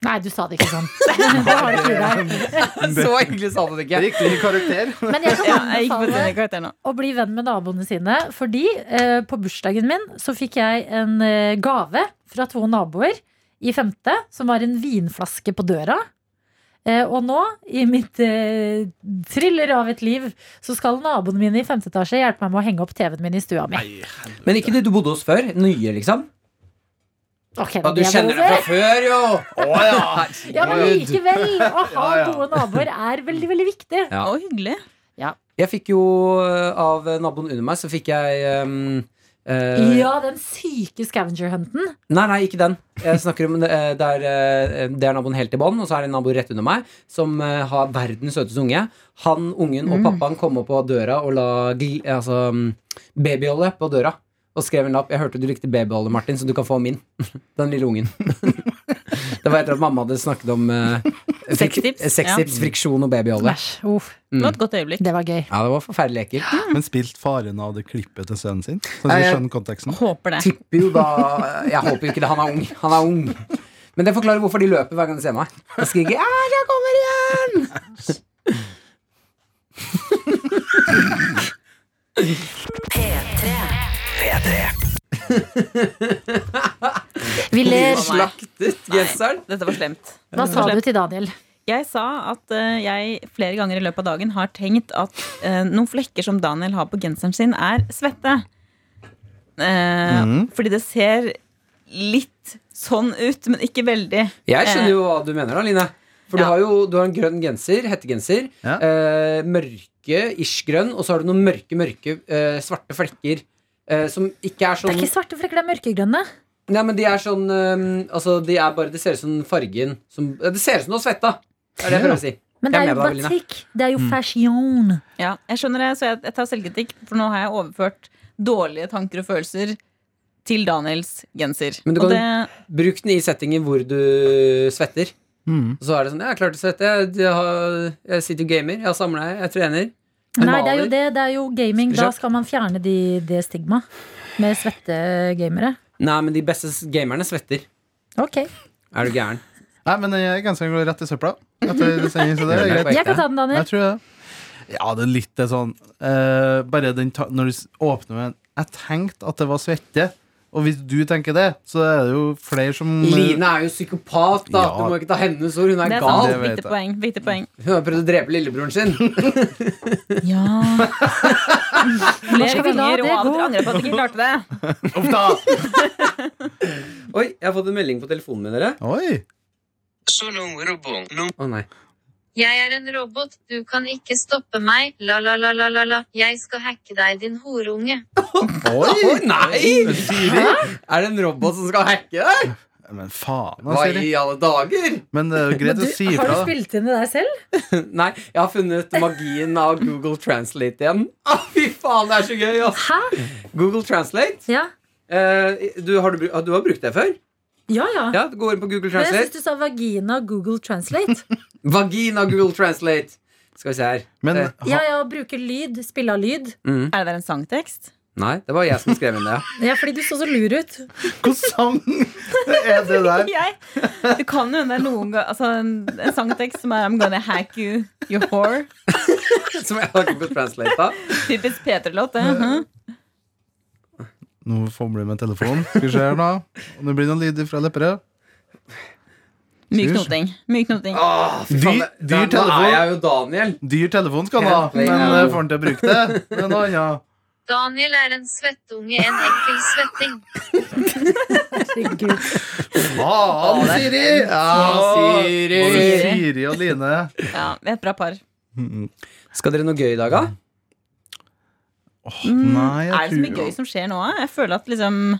Nei, du sa det ikke sånn. Det har du ikke i deg.
Så hyggelig sa du det ikke.
Riktig karakter.
Men jeg
Ja,
kan
jeg gikk på
anbefale
denne karakteren nå.
å bli venn med naboene sine, fordi eh, på bursdagen min så fikk jeg en eh, gave fra to naboer i femte, som var en vinflaske på døra. Eh, og nå, i mitt eh, thriller av et liv, så skal naboene mine i femte etasje hjelpe meg med å henge opp TV-en min i stua mi.
Men ikke de du bodde hos før? Nye, liksom?
Ok,
Ja, du
det er
kjenner det
over.
fra før, jo!
Å, ja.
Ja, men likevel! Å ha
Ja, ja.
gode naboer er veldig, veldig viktig.
Ja.
Å, hyggelig.
Jeg fikk jo eh, av naboen under meg, så fikk jeg ehm, eh,
Ja, den syke scavenger-hunten.
Nei, nei, ikke den. Jeg snakker om eh, Det er, eh, det er naboen helt i bånn, og så er det en nabo rett under meg som eh, har verdens søteste unge. Han, ungen og pappaen kom opp på døra og la gl- altså, mm, babyolje på døra. Og skrev en lapp. 'Jeg hørte du likte babyolje, Martin, så du kan få min.' Den lille ungen. det var etter at mamma hadde snakket om eh, frik-
Sextips,
eh, sextips, friksjon og babyolje.
Æsj. Uff,
Mm.
Det var et godt øyeblikk.
det var gøy.
Ja, det var forferdelig ekkelt.
Men spilt faren av det klippet til sønnen sin? Sånn
Nei,
at vi
jeg-
skjønner konteksten
Håper det.
Tipper jo da Jeg håper jo ikke det. Han er ung. Han er ung. Men det forklarer hvorfor de løper hver gang de ser meg. Jeg skriker 'Ja, jeg kommer igjen!'
Vi ler.
Nei.
Slaktet genseren.
Dette var slemt.
Hva sa du til Daniel?
Jeg sa at eh, jeg flere ganger i løpet av dagen har tenkt at eh, noen flekker som Daniel har på genseren sin, er svette. Eh, Fordi det ser litt sånn ut, men ikke veldig.
Jeg skjønner
Eh,
jo hva du mener, da, Line. For du
Ja.
har jo du har en grønn genser, hettegenser,
Ja.
eh, mørke ish-grønn, og så har du noen mørke, mørke eh, svarte flekker. eh, som ikke er
Det
sånn
er ikke svarte flekker, det er mørkegrønne.
Nei, men de er sånn eh, Altså, de er bare Det ser ut som fargen som eh, Det ser ut som du har svetta! Det er det jeg prøver å si.
Men det
Jeg
er
er Mm.
jo
med deg, Adelina.
batikk. Det er jo fashion.
Ja, jeg skjønner det, så jeg, jeg tar selvkritikk, for nå har jeg overført dårlige tanker og følelser til Daniels genser.
Men du
og
kan-
det,
Bruk den i settinger hvor du svetter. Og så er det sånn Jeg er klar til å svette. Jeg, jeg, har- jeg sitter og gamer. Jeg har samla, jeg trener. Jeg
Nei, det er jo
maler.
det. Det er jo gaming. Da
Spiseskjapp.
skal man fjerne de, det stigmaet med svettegamere.
Nei, men de beste gamerne svetter.
Ok.
Er du gæren?
Nei, men jeg er ganske går rett i søpla. Etter sending, så det er greit.
Jeg kan ta den,
Jeg
Daniel.
tror det. Ja, det er litt det sånn eh, Bare den ta når du s- åpner med en Jeg tenkte at det var svette. Og hvis du tenker det, så er det jo flere som
Line er jo psykopat, da.
Ja.
Du må ikke ta hennes ord. Hun er,
det er
gal.
sant.
Det vet
Viktig
jeg.
poeng. Viktig poeng.
Hun har prøvd å drepe lillebroren sin.
Ja Flere
skal vi la
ganger, og
det
av og til
gå?
angrer jeg på at jeg ikke klarte det.
Uff da!
Oi, jeg har fått en melding på telefonen min, dere.
Oi!
Å nei.
Jeg er en robot, du kan ikke stoppe meg, la la la la la la, jeg skal hacke deg din horunge.
Oi!
Å nei! Er det en robot som skal hacke deg?
Men faen,
Hva
altså.
i alle dager?
Men det er jo greit
Du,
å si
har du
ifra. da.
spilt inn det deg selv?
Nei, jeg har funnet magien av Google Translate igjen. Å, fy faen, det er så gøy, ass!
Hæ?
Google Translate.
Ja.
eh, du, har, du, bru- du har brukt det før?
Ja, ja.
Ja, du går inn på Google
Men jeg syns
Translate.
du sa vagina Google Translate.
Vagina Google Translate. Skal vi se her.
Men
Eh,
Ja, ja, bruke lyd. Spille av lyd.
Mm.
Er det der en sangtekst?
Nei, det var jeg som skrev inn det. ja.
Ja, fordi du så så lur ut.
hvilken sang er det der?
Jeg, det kan jo hende det er noen ga- altså, en, en sangtekst som er I'm gonna hack you, you whore.
Som jeg har Google Translate av.
Typisk P3-låt. det. Mhm.
Nå fomler vi med telefonen. Skal vi se her, da. Nå blir det noen lyder fra leppene.
Myk knoting. Myk knoting.
Åh, fy faen,
Dyr-
det-
dyr
Nå
telefon.
er jeg jo Daniel.
Dyr telefon skal han ha,
Ja,
men
ja.
eh, får han til å bruke det? Det er noe annet.
Daniel er en svettunge, en ekkel svetting.
Herregud.
Faen, Ah, Siri!
Ja, Siri.
Både Siri og Line.
Ja, vi er et bra par.
Skal dere noe gøy i dag, da?
Åh, nei,
Er det så
jeg
mye
tror
gøy som skjer nå? Jeg føler at liksom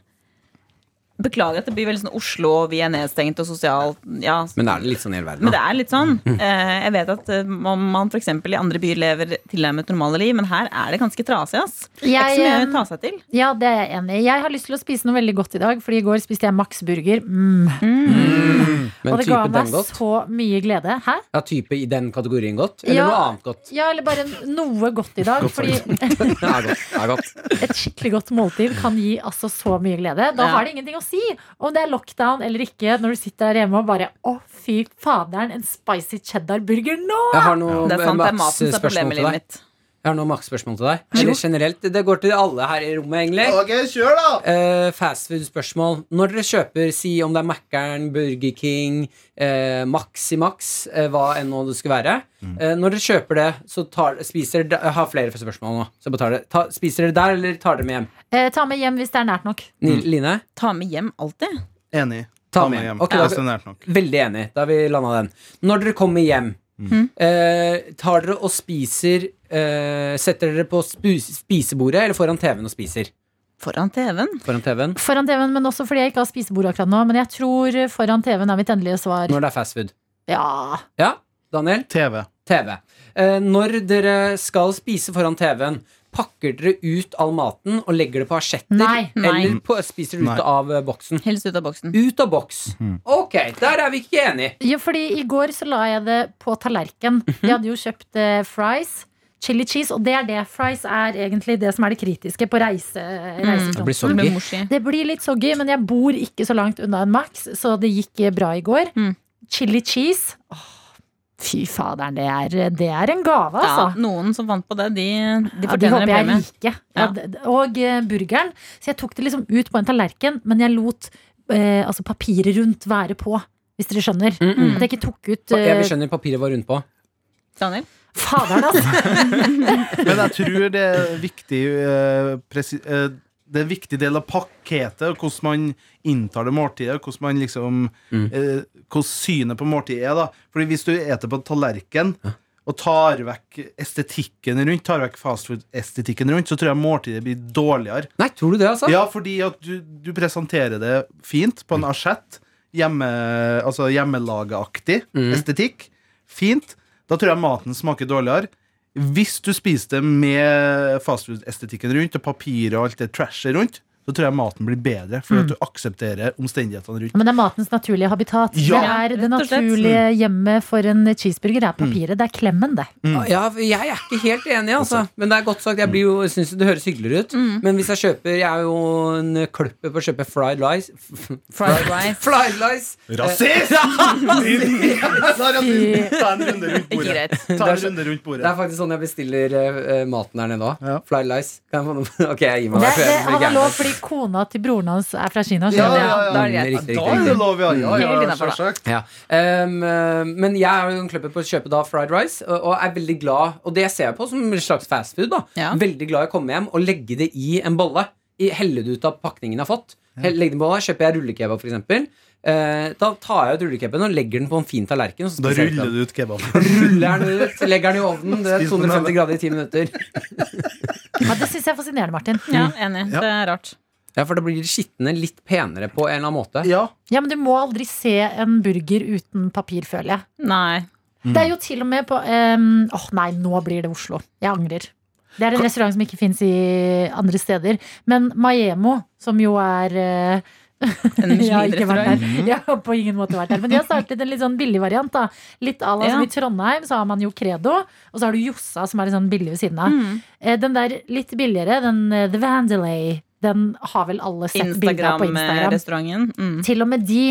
Beklager at det blir veldig sånn Oslo, og vi er nedstengt og sosialt ja,
Men er det litt sånn i hele verden?
Men
da?
det er litt sånn. Eh, jeg vet at eh, man, man f.eks. i andre byer lever tilnærmet normale liv, men her er det ganske trasig. ass. Det er
Jeg,
ikke så mye
eh,
å ta seg til.
Ja, det er jeg enig i. Jeg har lyst til å spise noe veldig godt i dag, Fordi i går spiste jeg Max Burger. Mm.
Men
Og det ga
type
meg
den godt?
så mye glede. Hæ?
Ja, type i den kategorien godt? Eller
Ja.
noe annet godt?
Ja, eller bare noe godt i dag. fordi
Det er godt. Det er godt.
et skikkelig godt måltid kan gi altså så mye glede. Da
Ja.
har det ingenting å si om det er lockdown eller ikke, når du sitter der hjemme og bare Å, fy faderen, en spicy cheddar-burger nå!
Jeg har noe
Det er sant, det er maten som er
Max-spørsmål
problemet i
til
livet
deg.
mitt.
Jeg har noe Max-spørsmål til deg. Eller generelt. Det går til alle her i rommet, egentlig.
Ok, kjør, da!
Eh, Fastfood-spørsmål. Når dere kjøper, si om det er Mækkern, Burger King, eh, Max i Max, eh, hva enn nå det skulle være.
Mm.
Eh, når dere kjøper det, så tar, spiser dere Jeg har flere spørsmål nå. Så jeg bare tar det. Ta, spiser dere der, eller tar dere med hjem?
Eh, ta med hjem hvis det er nært nok.
Ni, Line?
Ta med hjem alltid.
Enig.
Mm. Ta med. Ok, da-
Hvis det er nært nok.
Veldig enig. Da har vi landa den. Når dere kommer hjem,
Mm.
eh, tar dere og spiser eh, Setter dere på spu- spisebordet eller foran TV-en og spiser?
Foran TV-en.
Foran TV-en
Foran TV-en, men også fordi jeg ikke har spisebord akkurat nå. Men jeg tror foran TV-en er mitt endelige svar.
når det er fastfood.
Ja.
Ja, Daniel?
TV.
TV. Eh, når dere skal spise foran TV-en, pakker dere ut all maten og legger det på asjetter?
Nei.
Nei.
Eller på, spiser dere
Nei.
ut av eh, boksen?
Helst ut av boksen.
Ut av boks. Ok, der er vi ikke enige.
Ja, fordi i går så la jeg det på tallerken. Jeg hadde jo kjøpt eh, fries, chili cheese, og det er det. Fries er egentlig det som er det kritiske på reise, reisefronten.
blir
Det
soggy.
blir morsi.
Det blir litt soggy, men jeg bor ikke så langt unna en Max, så det gikk bra i går.
Mm.
Chili cheese. Åh, fy faderen, det er, det er en gave,
Ja,
altså.
noen som vant på det, de, de
Ja, de
fortjener
håper
en
jeg
premie.
liker.
Ja.
Ja. d- d- og eh, burgeren. Så jeg tok det liksom ut på en tallerken, men jeg lot eh, altså papiret rundt være på. Hvis dere skjønner.
Mm -mm.
At jeg ikke tok ut eh,
Jeg skjønner papiret var rundt på.
Daniel?
Faderen, altså!
Men jeg tror det er viktig eh, presi eh, Det er en viktig del av pakketet, og hvordan man inntar det måltidet. og Hvordan man liksom eh, Hvordan synet på måltidet er. da Fordi hvis du eter på en tallerken og tar vekk estetikken rundt, Tar vekk fastfood-estetikken rundt, så tror jeg måltidet blir dårligere.
Nei, tror du det, altså?
Ja, fordi at du, du presenterer det fint på en asjett. Hjemme, altså hjemmelageaktig estetikk. Fint. Da tror jeg maten smaker dårligere. Hvis du spiser det med fastfood-estetikken rundt, og papiret og alt det trashet rundt, så tror jeg maten blir bedre, fordi at du aksepterer omstendighetene rundt.
Men det er matens naturlige habitat.
Ja,
det er det
rett og slett.
naturlige hjemmet for en cheeseburger er papiret. Det er klemmen, det.
Mm.
Ja, jeg er ikke helt enig, altså. Men det er godt sagt. Jeg blir
Mm.
jo, synes det høres hyggeligere ut. Men hvis jeg kjøper Jeg er jo en kløpper på å kjøpe fried lice.
Fried rice.
Fried lice!
Rasist! Da er jeg- Ta en runde rundt
Ikke
bordet.
greit.
Ta en runde rundt
Det
bordet.
er faktisk sånn jeg bestiller eh, eh, maten her nede òg.
Ja.
Fried lice. Kan jeg få noe? Ok, jeg gir meg.
Det,
jeg
det,
føler jeg blir
han har
gæren.
lov fordi kona til broren hans er fra Kina.
Ja,
skjønner
ja,
jeg.
ja.
Da er det
Riktig,
greit.
Da
riktig,
er
riktig.
det lov, ja. ja,
Helt
ja
innenfor, da.
selvsagt.
Ja. Ehm, eh, men jeg er jo en kløpper på å kjøpe da fried rice, og, og er veldig glad Og det ser jeg på som en slags fastfood.
Ja.
Veldig glad i å komme hjem og legge det i en bolle. I- Helle det ut av pakningen jeg har fått. Hell- Legg det i en bolle, Kjøper jeg rullekebab, f.eks. Uh, da tar jeg ut rullekebaben og legger den på en fin tallerken. og så
Da
spiser jeg
ruller
den.
du ut kebab.
Ruller den ut, legger den i ovnen. Det er
Spiser den
250
hele.
grader i ti minutter.
Ja, det syns jeg er fascinerende, Martin.
Ja, enig.
Mm. Ja.
Det er rart.
Ja, For da blir skitne litt penere på en eller annen måte.
Ja.
Ja, Men du må aldri se en burger uten papir, føler jeg.
Nei.
Det er jo til og med på em, Åh nei, nå blir det Oslo. Jeg angrer. Det er en restaurant som ikke fins i andre steder. Men Maiemo, som jo er eh,
En
Jeg har ikke vært
Michelin-restaurant.
der. Jeg har på ingen måte vært der. Men de har startet en litt sånn billig variant. da Litt à la
Ja.
som i Trondheim, så har man jo Credo. Og så har du Jossa, som er litt sånn billig ved siden av.
Mm.
Eh, Den der litt billigere, den eh, The Vandelay, den har vel alle sett bilder av på
eh,
Instagram.
Instagram-restauranten. Mm.
Til og med de,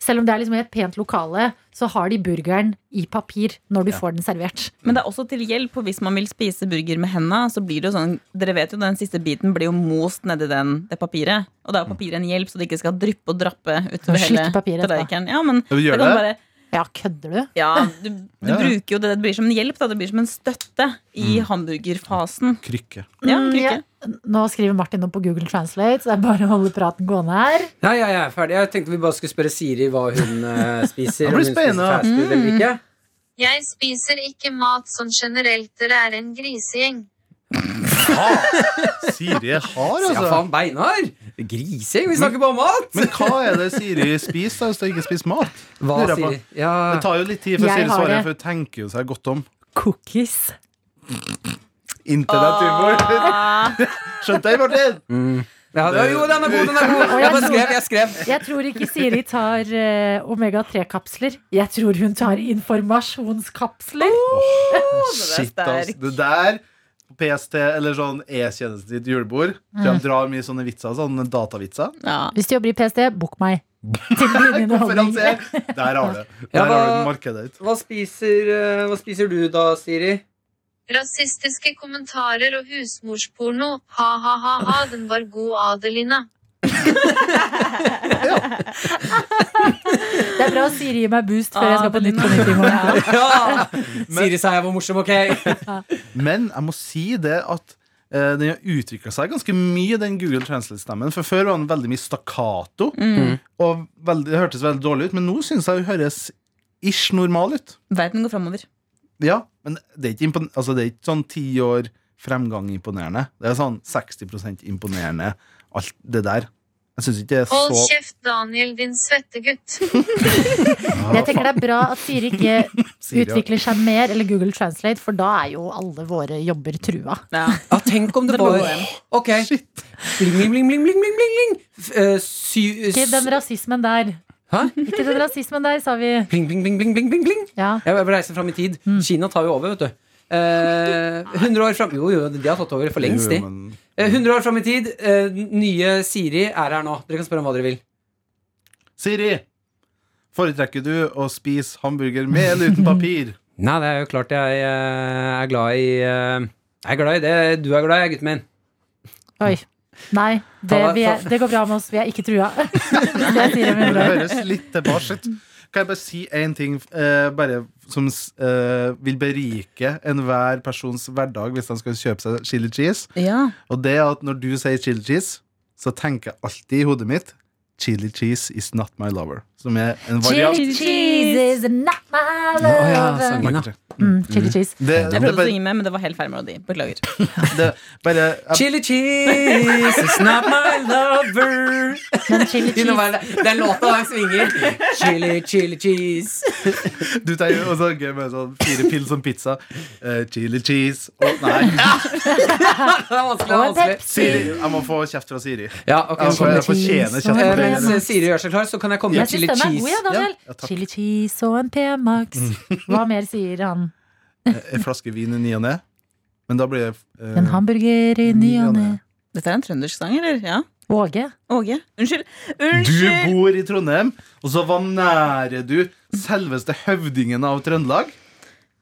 selv om det er liksom i et pent lokale, så har de burgeren i papir når du får den servert.
Men det er også til hjelp, og hvis man vil spise burger med henda, så blir det jo sånn Dere vet jo, den siste biten blir jo most nedi den, det papiret. Og da er jo papiret en hjelp, så det ikke skal dryppe og drappe utover
Slikke
hele
papiret, da.
tallerkenen. Ja, men
Ja, vi gjør
da kan
det.
du bare
Ja, kødder du?
Ja, du, du
Ja, Mm. ja.
bruker jo det. Det blir som en hjelp, da. Det blir som en støtte i hamburgerfasen.
Krykke.
Ja,
Mm,
krykke.
Nå skriver Martin opp på Google Translate, så det er bare å holde praten gående her.
Nei, jeg er ferdig. Jeg tenkte vi bare skulle spørre Siri hva hun eh, spiser.
Det
om
blir
hun spiser
spennende.
fast food eller ikke.
Jeg spiser ikke mat sånn generelt, dere er en grisegjeng.
Ha. Siri er hard,
Ja,
altså.
faen, beinhard! Grising? Vi snakker bare om mat!
Men hva er det Siri spiser da, hvis hun ikke spiser mat?
Hva
Lurer jeg på.
sier ja.
Det tar jo litt tid før
Jeg
Siri
har
svarer,
det.
for hun tenker jo seg godt om.
Cookies.
Internett-humor. Skjønte jeg, Martin?
Mm. ja, det- Jo, den er god, den er god! Jeg bare skrev, jeg skrev.
Jeg tror ikke Siri tar eh, omega-3-kapsler. Jeg tror hun tar informasjonskapsler.
Shit,
sterk.
ass. Det der på PST eller sånn E-tjenesten ditt julebord.
Mm.
De drar mye sånne vitser, sånne datavitser.
Ja.
Hvis du jobber i PST, bok meg. Til din underholdning.
Konferansier. Der har du det.
Ja,
Der har
da-
du markedet ditt.
Hva spiser, eh, hva spiser du da, Siri?
Rasistiske kommentarer og husmorsporno. Ha-ha-ha-ha, den var god, Adelina.
Det er bra Siri gir meg boost før jeg skal på Nytt på Nytt i morgen.
Ja! Siri sa jeg var morsom, ok?
Men jeg må si det at eh, den har utvikla seg ganske mye, den Google Translate-stemmen. For før var den veldig mye stakkato,
Mm.
og veldig, det hørtes veldig dårlig ut. Men nå syns jeg hun høres ish normal ut.
Verden går framover.
Ja, men det er ikke, impon altså, det er ikke sånn ti år fremgang imponerende. Det er sånn 60 imponerende, alt det der. Jeg syns ikke det er
Hold
så
kjeft, Daniel, din svettegutt.
Jeg tenker det er bra at Siri ikke
Siri, ja.
utvikler seg mer, eller Google Translate, for da er jo alle våre jobber trua.
Ja.
Ja, tenk om det
Det må
var
gå hjem.
Ok. Bling, bling, bling, bling, bling, bling, bling, bling. F- eh, sy-
Ikke den
s-
rasismen der.
Hæ?
Ikke den rasismen der, sa vi.
Bling, bling, bling, bling, bling, bling, bling.
Ja.
Jeg vil reise fram i tid. Kina tar jo over, vet du. Eh, 100 år fram Jo, jo, de har tatt over for lengst, de.
Jo, men-
Eh, 100 år fram i tid. eh, nye Siri er her nå. Dere kan spørre om hva dere vil.
Siri, foretrekker du å spise hamburger med eller uten papir?
Nei, det er jo klart jeg eh, er glad i eh, Jeg er glad i det du er glad i, gutten min.
Oi. Nei, det, vi er, det går bra med oss. Vi er ikke trua. Hvis jeg sier det med
Det
hundre år.
høres litt tilbake ut. Kan jeg bare si én ting eh, bare som eh, vil berike enhver persons hverdag hvis de skal kjøpe seg chili cheese?
Ja.
Og det er at når du sier chili cheese, så tenker jeg alltid i hodet mitt Chili cheese is not my lover. Som er en variant.
Chili cheese is not my
Å ja,
love.
sånn.
Det,
Mm, chili cheese.
det,
Jeg prøvde å
bare,
synge med, men det var helt feil melodi. Beklager.
det, bare jeg,
Chili cheese is not my lover.
Men chili
Begynner å
cheese
være det- Den låta der svinger. Chili, chili cheese.
Du tenker jo også gøy med sånn fire pils som pizza. Eh, chili cheese Å, Nei,
Det er vanskelig.
og
Det er
en
vanskelig.
Pepsi.
Siri, jeg må få kjeft fra Siri.
Ja, ok, nå
Jeg, får,
kommer
jeg fortjener kjeft
Eh,
men-
fra Siri.
Mens Siri gjør seg klar, så kan jeg komme
Ja,
med
Jeg
chili
syns den er god, ja,
cheese.
Daniel.
Ja, ja, takk.
chili cheese og en P-Max. Hva mer sier han?
eh, En flaske vin i ny og ne. Men da blir det eh,
En hamburger i ny og ne.
Dette er en trøndersk sang, eller? Ja.
Åge.
Åge? Unnskyld.
Du
Unnskyld!
bor i Trondheim, og så vanærer du selveste høvdingen av Trøndelag?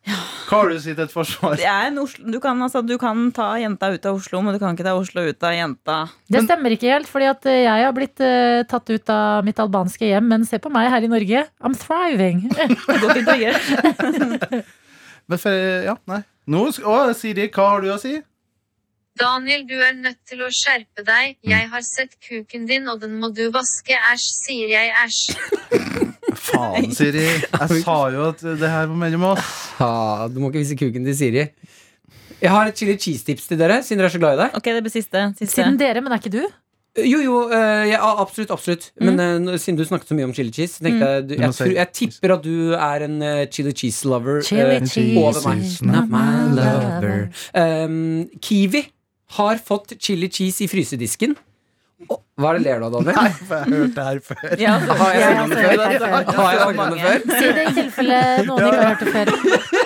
Hva har du sitt et forsvar?
Det er en Oslo, du, kan, altså, du kan ta jenta ut av Oslo, men du kan ikke ta Oslo ut av jenta.
Det stemmer ikke helt, fordi at eh, jeg har blitt eh, tatt ut av mitt albanske hjem, men se på meg her i Norge. I'm thriving.
Godt integrert.
Men for, ja, nei. Nå, sk- å, Siri, hva har du å si?
Daniel, du er nødt til å skjerpe deg. Jeg har sett kuken din, og den må du vaske. Æsj, sier jeg. Æsj.
Faen, Siri. Jeg sa jo at det her var mellom oss.
Ha, du må ikke vise kuken til Siri. Jeg har et chili cheese-tips til dere, siden dere er så glad i det.
Ok, det blir siste. siste.
Siden dere, men er ikke du?
Jo, jo, eh, ja, absolutt, absolutt. Men eh, nå- siden du snakket så mye om chili cheese, så tenkte jeg du,
Du må
jeg,
si-
tror, jeg tipper at du er en eh, chili cheese-lover
Chili
over
cheese
meg.
is
not my lover.
Um, Kiwi har fått chili cheese i frysedisken. Å, hva er det ler du av, Daniel?
For jeg har hørt det her før.
Ja, altså,
Har jeg
ja,
sagt
altså,
det før?
det er så-
Har jeg sagt det før?
Si det i tilfelle noen ikke har hørt det før.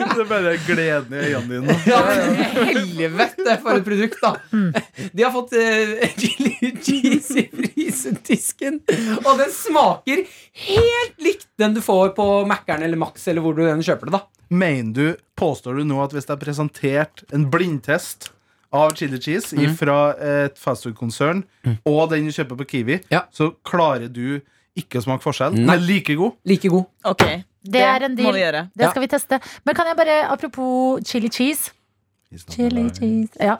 Det er bare gleden i øynene dine.
Ja, men helvete for et produkt, da!
Mm.
De har fått eh, chili cheese i frysedisken, og den smaker helt likt den du får på Mækkern eller Max, eller hvor du enn kjøper det, da.
Mener du, påstår du nå at hvis det er presentert en blindtest av chili cheese fra et fastfood-konsern og den du kjøper på Kiwi,
Ja.
så klarer du ikke å smake forskjell?
Nei.
Den er like god.
Like god.
Ok,
Det er en
må
deal.
vi gjøre.
Det skal vi teste. Men kan jeg bare, apropos chili cheese Chili cheese. Ja.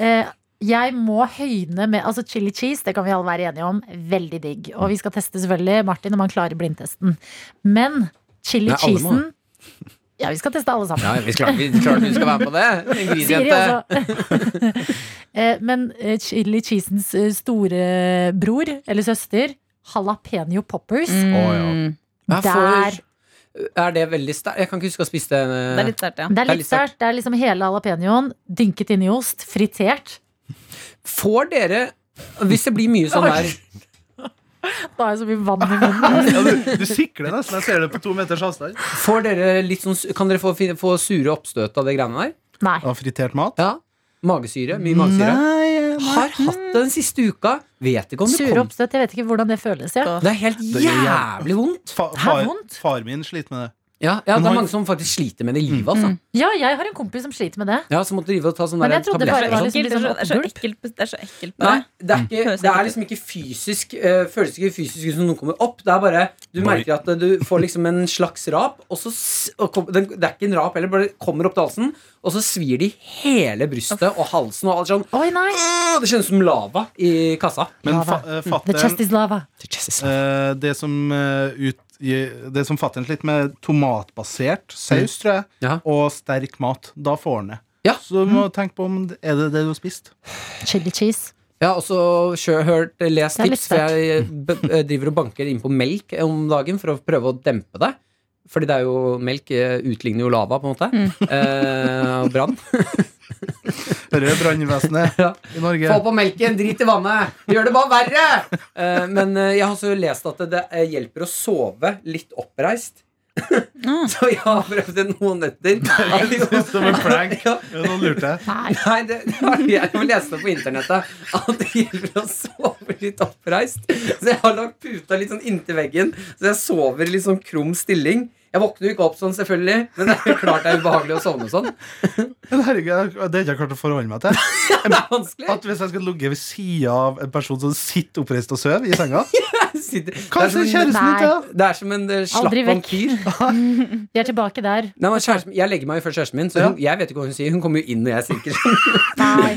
Eh, jeg må høyne med Altså chili cheese, det kan vi alle være enige om. Veldig digg. Og vi skal teste selvfølgelig Martin om han klarer blindtesten. Men chili
Nei, alle må.
cheesen Ja, vi skal teste alle sammen.
vi klart, vi klart du skal være med på det.
Siri også. Eh, men eh, chili cheesens eh, store bror, eller søster, jalapeño poppers.
Mm.
Å,
altså,
Jeg får-
Der.
Er det veldig sterkt? Jeg kan ikke huske å eh. ha spist det.
Det er litt sterkt, ja.
Det er
Det er
litt
litt sterkt.
sterkt. Det er liksom hele jalapeñoen dynket inn i ost, fritert.
Får dere Hvis det blir mye sånn der
Da er det så mye vann i munnen.
Ja, du, du sikler nesten. Jeg ser det på to meters avstand.
Får dere litt sånn Kan dere få, få sure oppstøt av det greiene der?
Nei.
Av fritert mat?
Ja. Magesyre. Mye magesyre.
Nei, eh, nei.
Har hatt det den siste uka. Vet ikke om det
Sure
kom.
oppstøt. Jeg vet ikke hvordan det føles. Ja.
Det er helt
Det gjør jævlig.
jævlig vondt.
Fa,
Hæ,
far,
vondt?
far min sliter med det.
Ja, ja, det
har-
er mange som faktisk sliter med det i livet, altså.
ja, jeg har en kompis som sliter med det.
Ja, som måtte drive og ta sånne
Mm. Men
der
jeg trodde det bare Mm.
Det
tabletter.
er
og
så
sånn.
liksom
ekkelt, det er så- det er så
oppgulp.
ekkelt, det er så ekkelt
Nei,
bare.
det er, ikke,
Høres
det er
ekkelt ut.
liksom ikke fysisk eh, Føles ikke fysisk ut som noe kommer opp. Det er bare Du
Oi.
merker at eh, du får liksom en slags rap, og så s- og kom, den, Det er ikke en rap heller, bare kommer opp til halsen, og så svir det i hele brystet og halsen og alt sånn.
Oi, nei!
Åh, Det kjennes som lava i kassa.
Men
Lava.
fa, eh,
The
fatteren
chest is lava.
Eh, det som uh, ut i- det som fatter en litt med tomatbasert saus, tror jeg,
Ja.
og sterk mat. Da får han det.
Ja. Mm.
Så du må tenke på om det- er det det du har spist.
Chili cheese.
Jeg har også sjø- hørt, lest
Det er litt
tips, for jeg eh, b- b- driver og banker inn på melk eh, om dagen for å prøve å dempe det. Fordi det er jo melk eh, utligner jo lava, på en måte.
Mm.
Eh, og brann.
Hører brannvesenet
Ja.
i Norge.
Få på melken, drit i vannet! Gjør det bare verre! Eh, men eh, jeg har også lest at det, det eh, hjelper å sove litt oppreist.
Ah.
Så jeg har prøvd det noen netter. At
Jeg synes det var en prank.
Ja.
Ja, Nå lurte jeg.
Nei.
Nei, det, det har jeg leste på internettet. At det gjelder å sove litt oppreist. Så jeg har lagt puta litt sånn inntil veggen, så jeg sover i litt sånn krum stilling. Jeg våkner jo ikke opp sånn, selvfølgelig, men det er jo klart det er ubehagelig å sovne sånn.
Men herregud, det har jeg ikke klart å forholde meg til.
Det er vanskelig.
At Hvis jeg skal ligge ved sida av en person som sitter oppreist og sover i senga
Jeg sitter- Det er
Kanskje
som en,
kjæresten
Nei.
din til deg?
det er som en eh, slapp
Aldri vekk.
vampyr.
Vi er tilbake der.
Nei, men kjæresten, jeg legger meg jo før kjæresten min, så hun, jeg vet ikke hva hun sier. Hun kommer jo inn når jeg sier sånn.
Nei.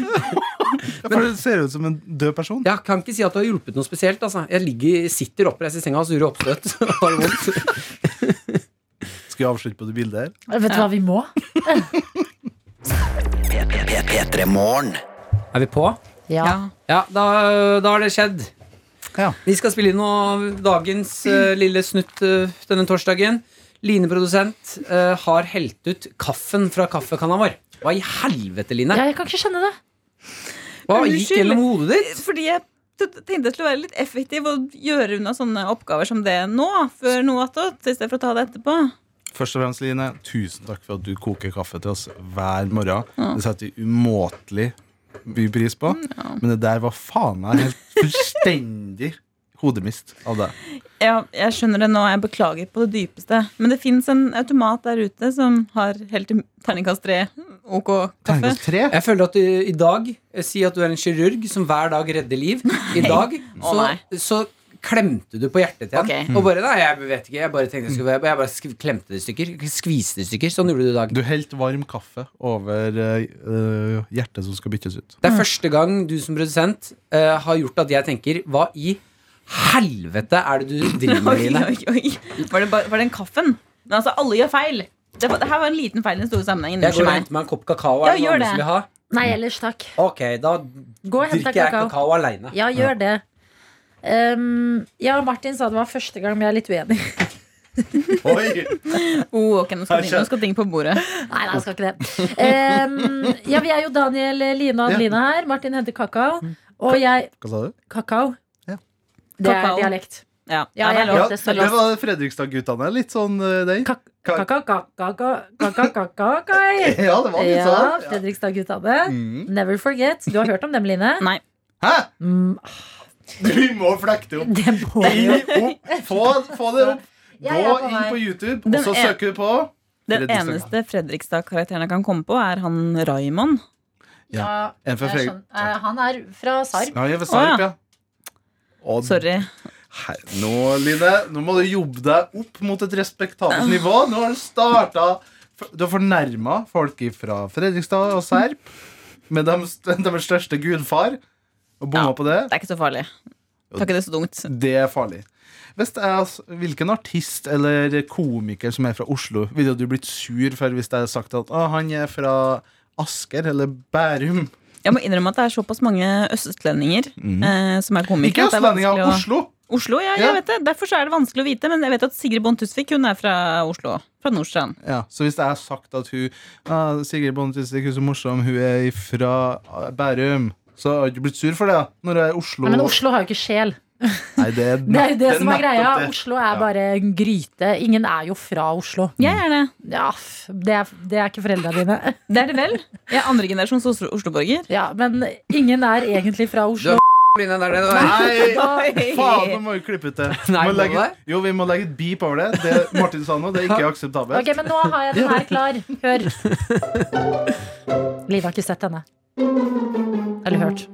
Ja, For det ser ut som en død person.
Jeg kan ikke si at det har hjulpet noe spesielt. Altså. Jeg ligger, sitter oppreist i senga og surer oppstøt. så har det vondt.
Skal jeg avslutte på det bildet her?
Vet du hva vi må?
Er vi på?
Ja.
Ja, da, da har det skjedd.
Ja.
Vi skal spille inn noe av dagens eh, lille snutt eh, denne torsdagen. Line produsent eh, har helt ut kaffen fra kaffekanna vår. Hva i helvete, Line?
ja, jeg kan ikke skjønne det.
Hva gikk
Unnskyld.
gjennom hodet ditt?
Fordi jeg t- tenkte jeg skulle være litt effektiv og gjøre unna sånne oppgaver som det nå, før noe attåt, i stedet for å ta det etterpå.
Først og fremst, Line, tusen takk for at du koker kaffe til oss hver morgen. Det setter vi umåtelig mye pris på. Men det der var faen meg helt fullstendig hodemist av deg.
Ja, jeg skjønner det nå, jeg beklager på det dypeste. Men det fins en automat der ute som har helt til terningkast tre OK kaffe.
Terningkast tre.
Jeg føler at du i dag eh, Si at du er en kirurg som hver dag redder liv. I dag
Å,
så,
nei.
så klemte du på hjertet til ham.
Ok.
Og bare Nei, jeg vet ikke. Jeg bare tenkte jeg skulle Jeg bare skv- klemte det i stykker. Skviste det i stykker. Sånn gjorde du i dag.
Du helte varm kaffe over eh, eh, hjertet som skal byttes ut.
Det er første gang du som produsent eh, har gjort at jeg tenker Hva i helvete er det du driver med,
Oi,
Line?
oi, oi. Var det, bare, var den kaffen? Men altså, alle gjør feil. Det, var, det her var en liten feil i den store sammenhengen.
Jeg går og
Unnskyld meg.
henter meg en kopp kakao.
Ja,
Er det noe
gjør
annet
det.
du vil ha?
Nei ellers, takk.
Ok, da
Gå og hent
drikker
deg
jeg
kakao.
kakao aleine.
Ja, gjør det. Um, ja, Martin sa det var første gang, men jeg er litt uenig.
Oh, ok, nå skal, ting, nå skal ting på bordet.
Nei, nei, jeg skal ikke det. Um, ja, vi er jo Daniel, Line og Adeline her. Martin henter kakao. Og jeg
Hva sa du?
Kakao.
Ja.
Det er
Kakao.
dialekt.
Ja,
Ja,
det er
jeg
lov.
Ja, det
det
står låst.
var Fredrikstad-guttene. Litt sånn uh, den.
Kak-
Ka-
Kakao, kakao, kakao, kakao, kakao.
Ja, det var litt
Ja,
sånn.
Fredrikstad-guttene.
Mm.
Never forget. Du har hørt om dem, Line?
Nei.
Hæ?
Mm,
Du må flekte opp.
det må
Inn opp. Få, få det opp.
Ja,
Gå
jeg er på
inn
vei.
på YouTube,
Den
og så
er-
søker du på
Den
Fredrikstad.
eneste Fredrikstad-karakteren jeg kan komme på, er han Raymond.
Ja,
En fra
jeg
Fredrik-
skjønner. Eh, Han er fra Sarp.
Ja, jeg er fra Sarp,
Å, ja.
ja. Og
Sorry.
her- nå, Line, nå må du jobbe deg opp mot et respektabelt nivå. Nå har du starta Du har fornærma folk fra Fredrikstad og Serp med deres deres største gudfar, og bomma
Ja.
på det.
Det er ikke så farlig. Tar ikke det så dumt.
Det er farlig. Hvis det er, altså- hvilken artist eller komiker som er fra Oslo, ville du blitt sur for hvis jeg hadde sagt at «Å, han er fra Asker eller Bærum?
Jeg må innrømme at det er såpass mange østlendinger
Mhm.
eh, som er komikere.
Ikke
at det er
østlendinger,
vanskelig å-
Oslo!
Oslo, ja,
Ja.
jeg vet det. Derfor så er det vanskelig å vite. Men jeg vet at Sigrid Bonde Tusvik hun er fra Oslo. Fra Nordstrand.
Ja, så hvis jeg har sagt at hun ah, Sigrid Bonde Tusvik hun er så morsom, hun er fra Bærum, så har jeg ikke blitt sur for det, da. Når jeg er i Oslo.
Nei, men Oslo har jo ikke sjel.
Nei, det er,
Det er jo det som er
nettopp
greia.
det.
Oslo er
Ja.
bare en gryte. Ingen er jo fra Oslo.
Jeg er det.
Ja, f- det er, det er ikke foreldra dine.
Det er det vel. Jeg er andre generasjons Oslo- Oslo-borger.
Ja, men ingen er egentlig fra Oslo.
Line, det er det du er.
Nei!
Oi.
Faen, nå må vi klippe ut det.
Nei,
Må
må
legge,
det?
jo, vi må legge et beep over det. Det Martin sa nå, det er ikke akseptabelt.
Ok, men nå har jeg den her klar. Hør. Liv har ikke sett denne. Eller hørt.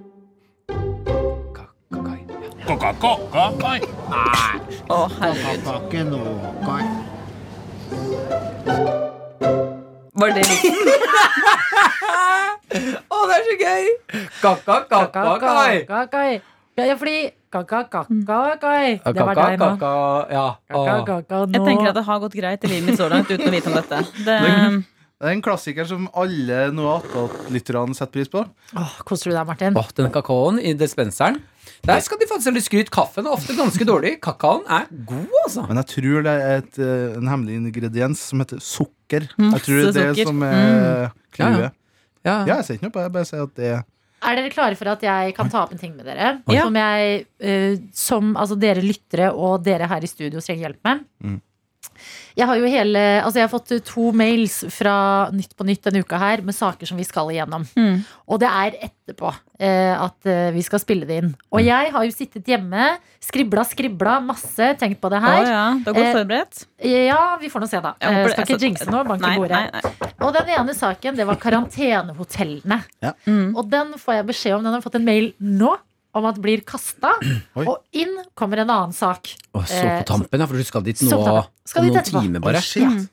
Å, herregud. Var det riktig?
Å, det er så gøy! Kaka, kaka, kai.
Kakakakakai. Ja, ja, fordi kakakakakai. Det var deg nå.
Kaka, ja. Å.
Kakakaka nå.
Jeg tenker at det har gått greit i livet mitt så langt uten å vite om dette. Det,
Det er en klassiker som alle noe attåt-lytterne setter pris på.
Åh, koser du deg, Martin?
Åh, den kakaoen i dispenseren. Der skal de faktisk ha litt skryt. Kaffen er ofte ganske dårlig. Kakaoen er god, altså.
Men jeg tror det er et, eh, en hemmelig ingrediens som heter sukker. Jeg
Masse
tror det er det
sukker.
som er
Mm, Ja,
clouet.
ja. Ja.
Ja, jeg sier ikke noe på det. Jeg bare sier at det
Er dere klare for at jeg kan ta opp en ting med dere?
Oi.
Som, jeg, eh, som altså dere lyttere og dere her i studio trenger hjelp med. Jeg har jo hele, altså jeg har fått to mails fra Nytt på Nytt denne uka her med saker som vi skal igjennom.
Mm.
Og det er etterpå eh, at eh, vi skal spille det inn. Og jeg har jo sittet hjemme, skribla, skribla masse, tenkt på det
å
her.
ja, du har godt
Eh,
forberedt?
Ja, vi får nå se, da.
Jeg håper
Eh,
det-
Skal ikke
altså,
jinxe nå, bank
nei,
i bordet.
Nei, nei.
Og den ene saken, det var karantenehotellene.
Ja.
Mm.
Og den får jeg beskjed om. Den har jeg fått en mail nå om at blir kasta.
Oi.
Og inn kommer en annen sak.
Å, så på
Eh,
tampen, ja, for du skal dit nå
så på tampen. Skal dit
noen
etterpå.
timer bare.
Å, shit.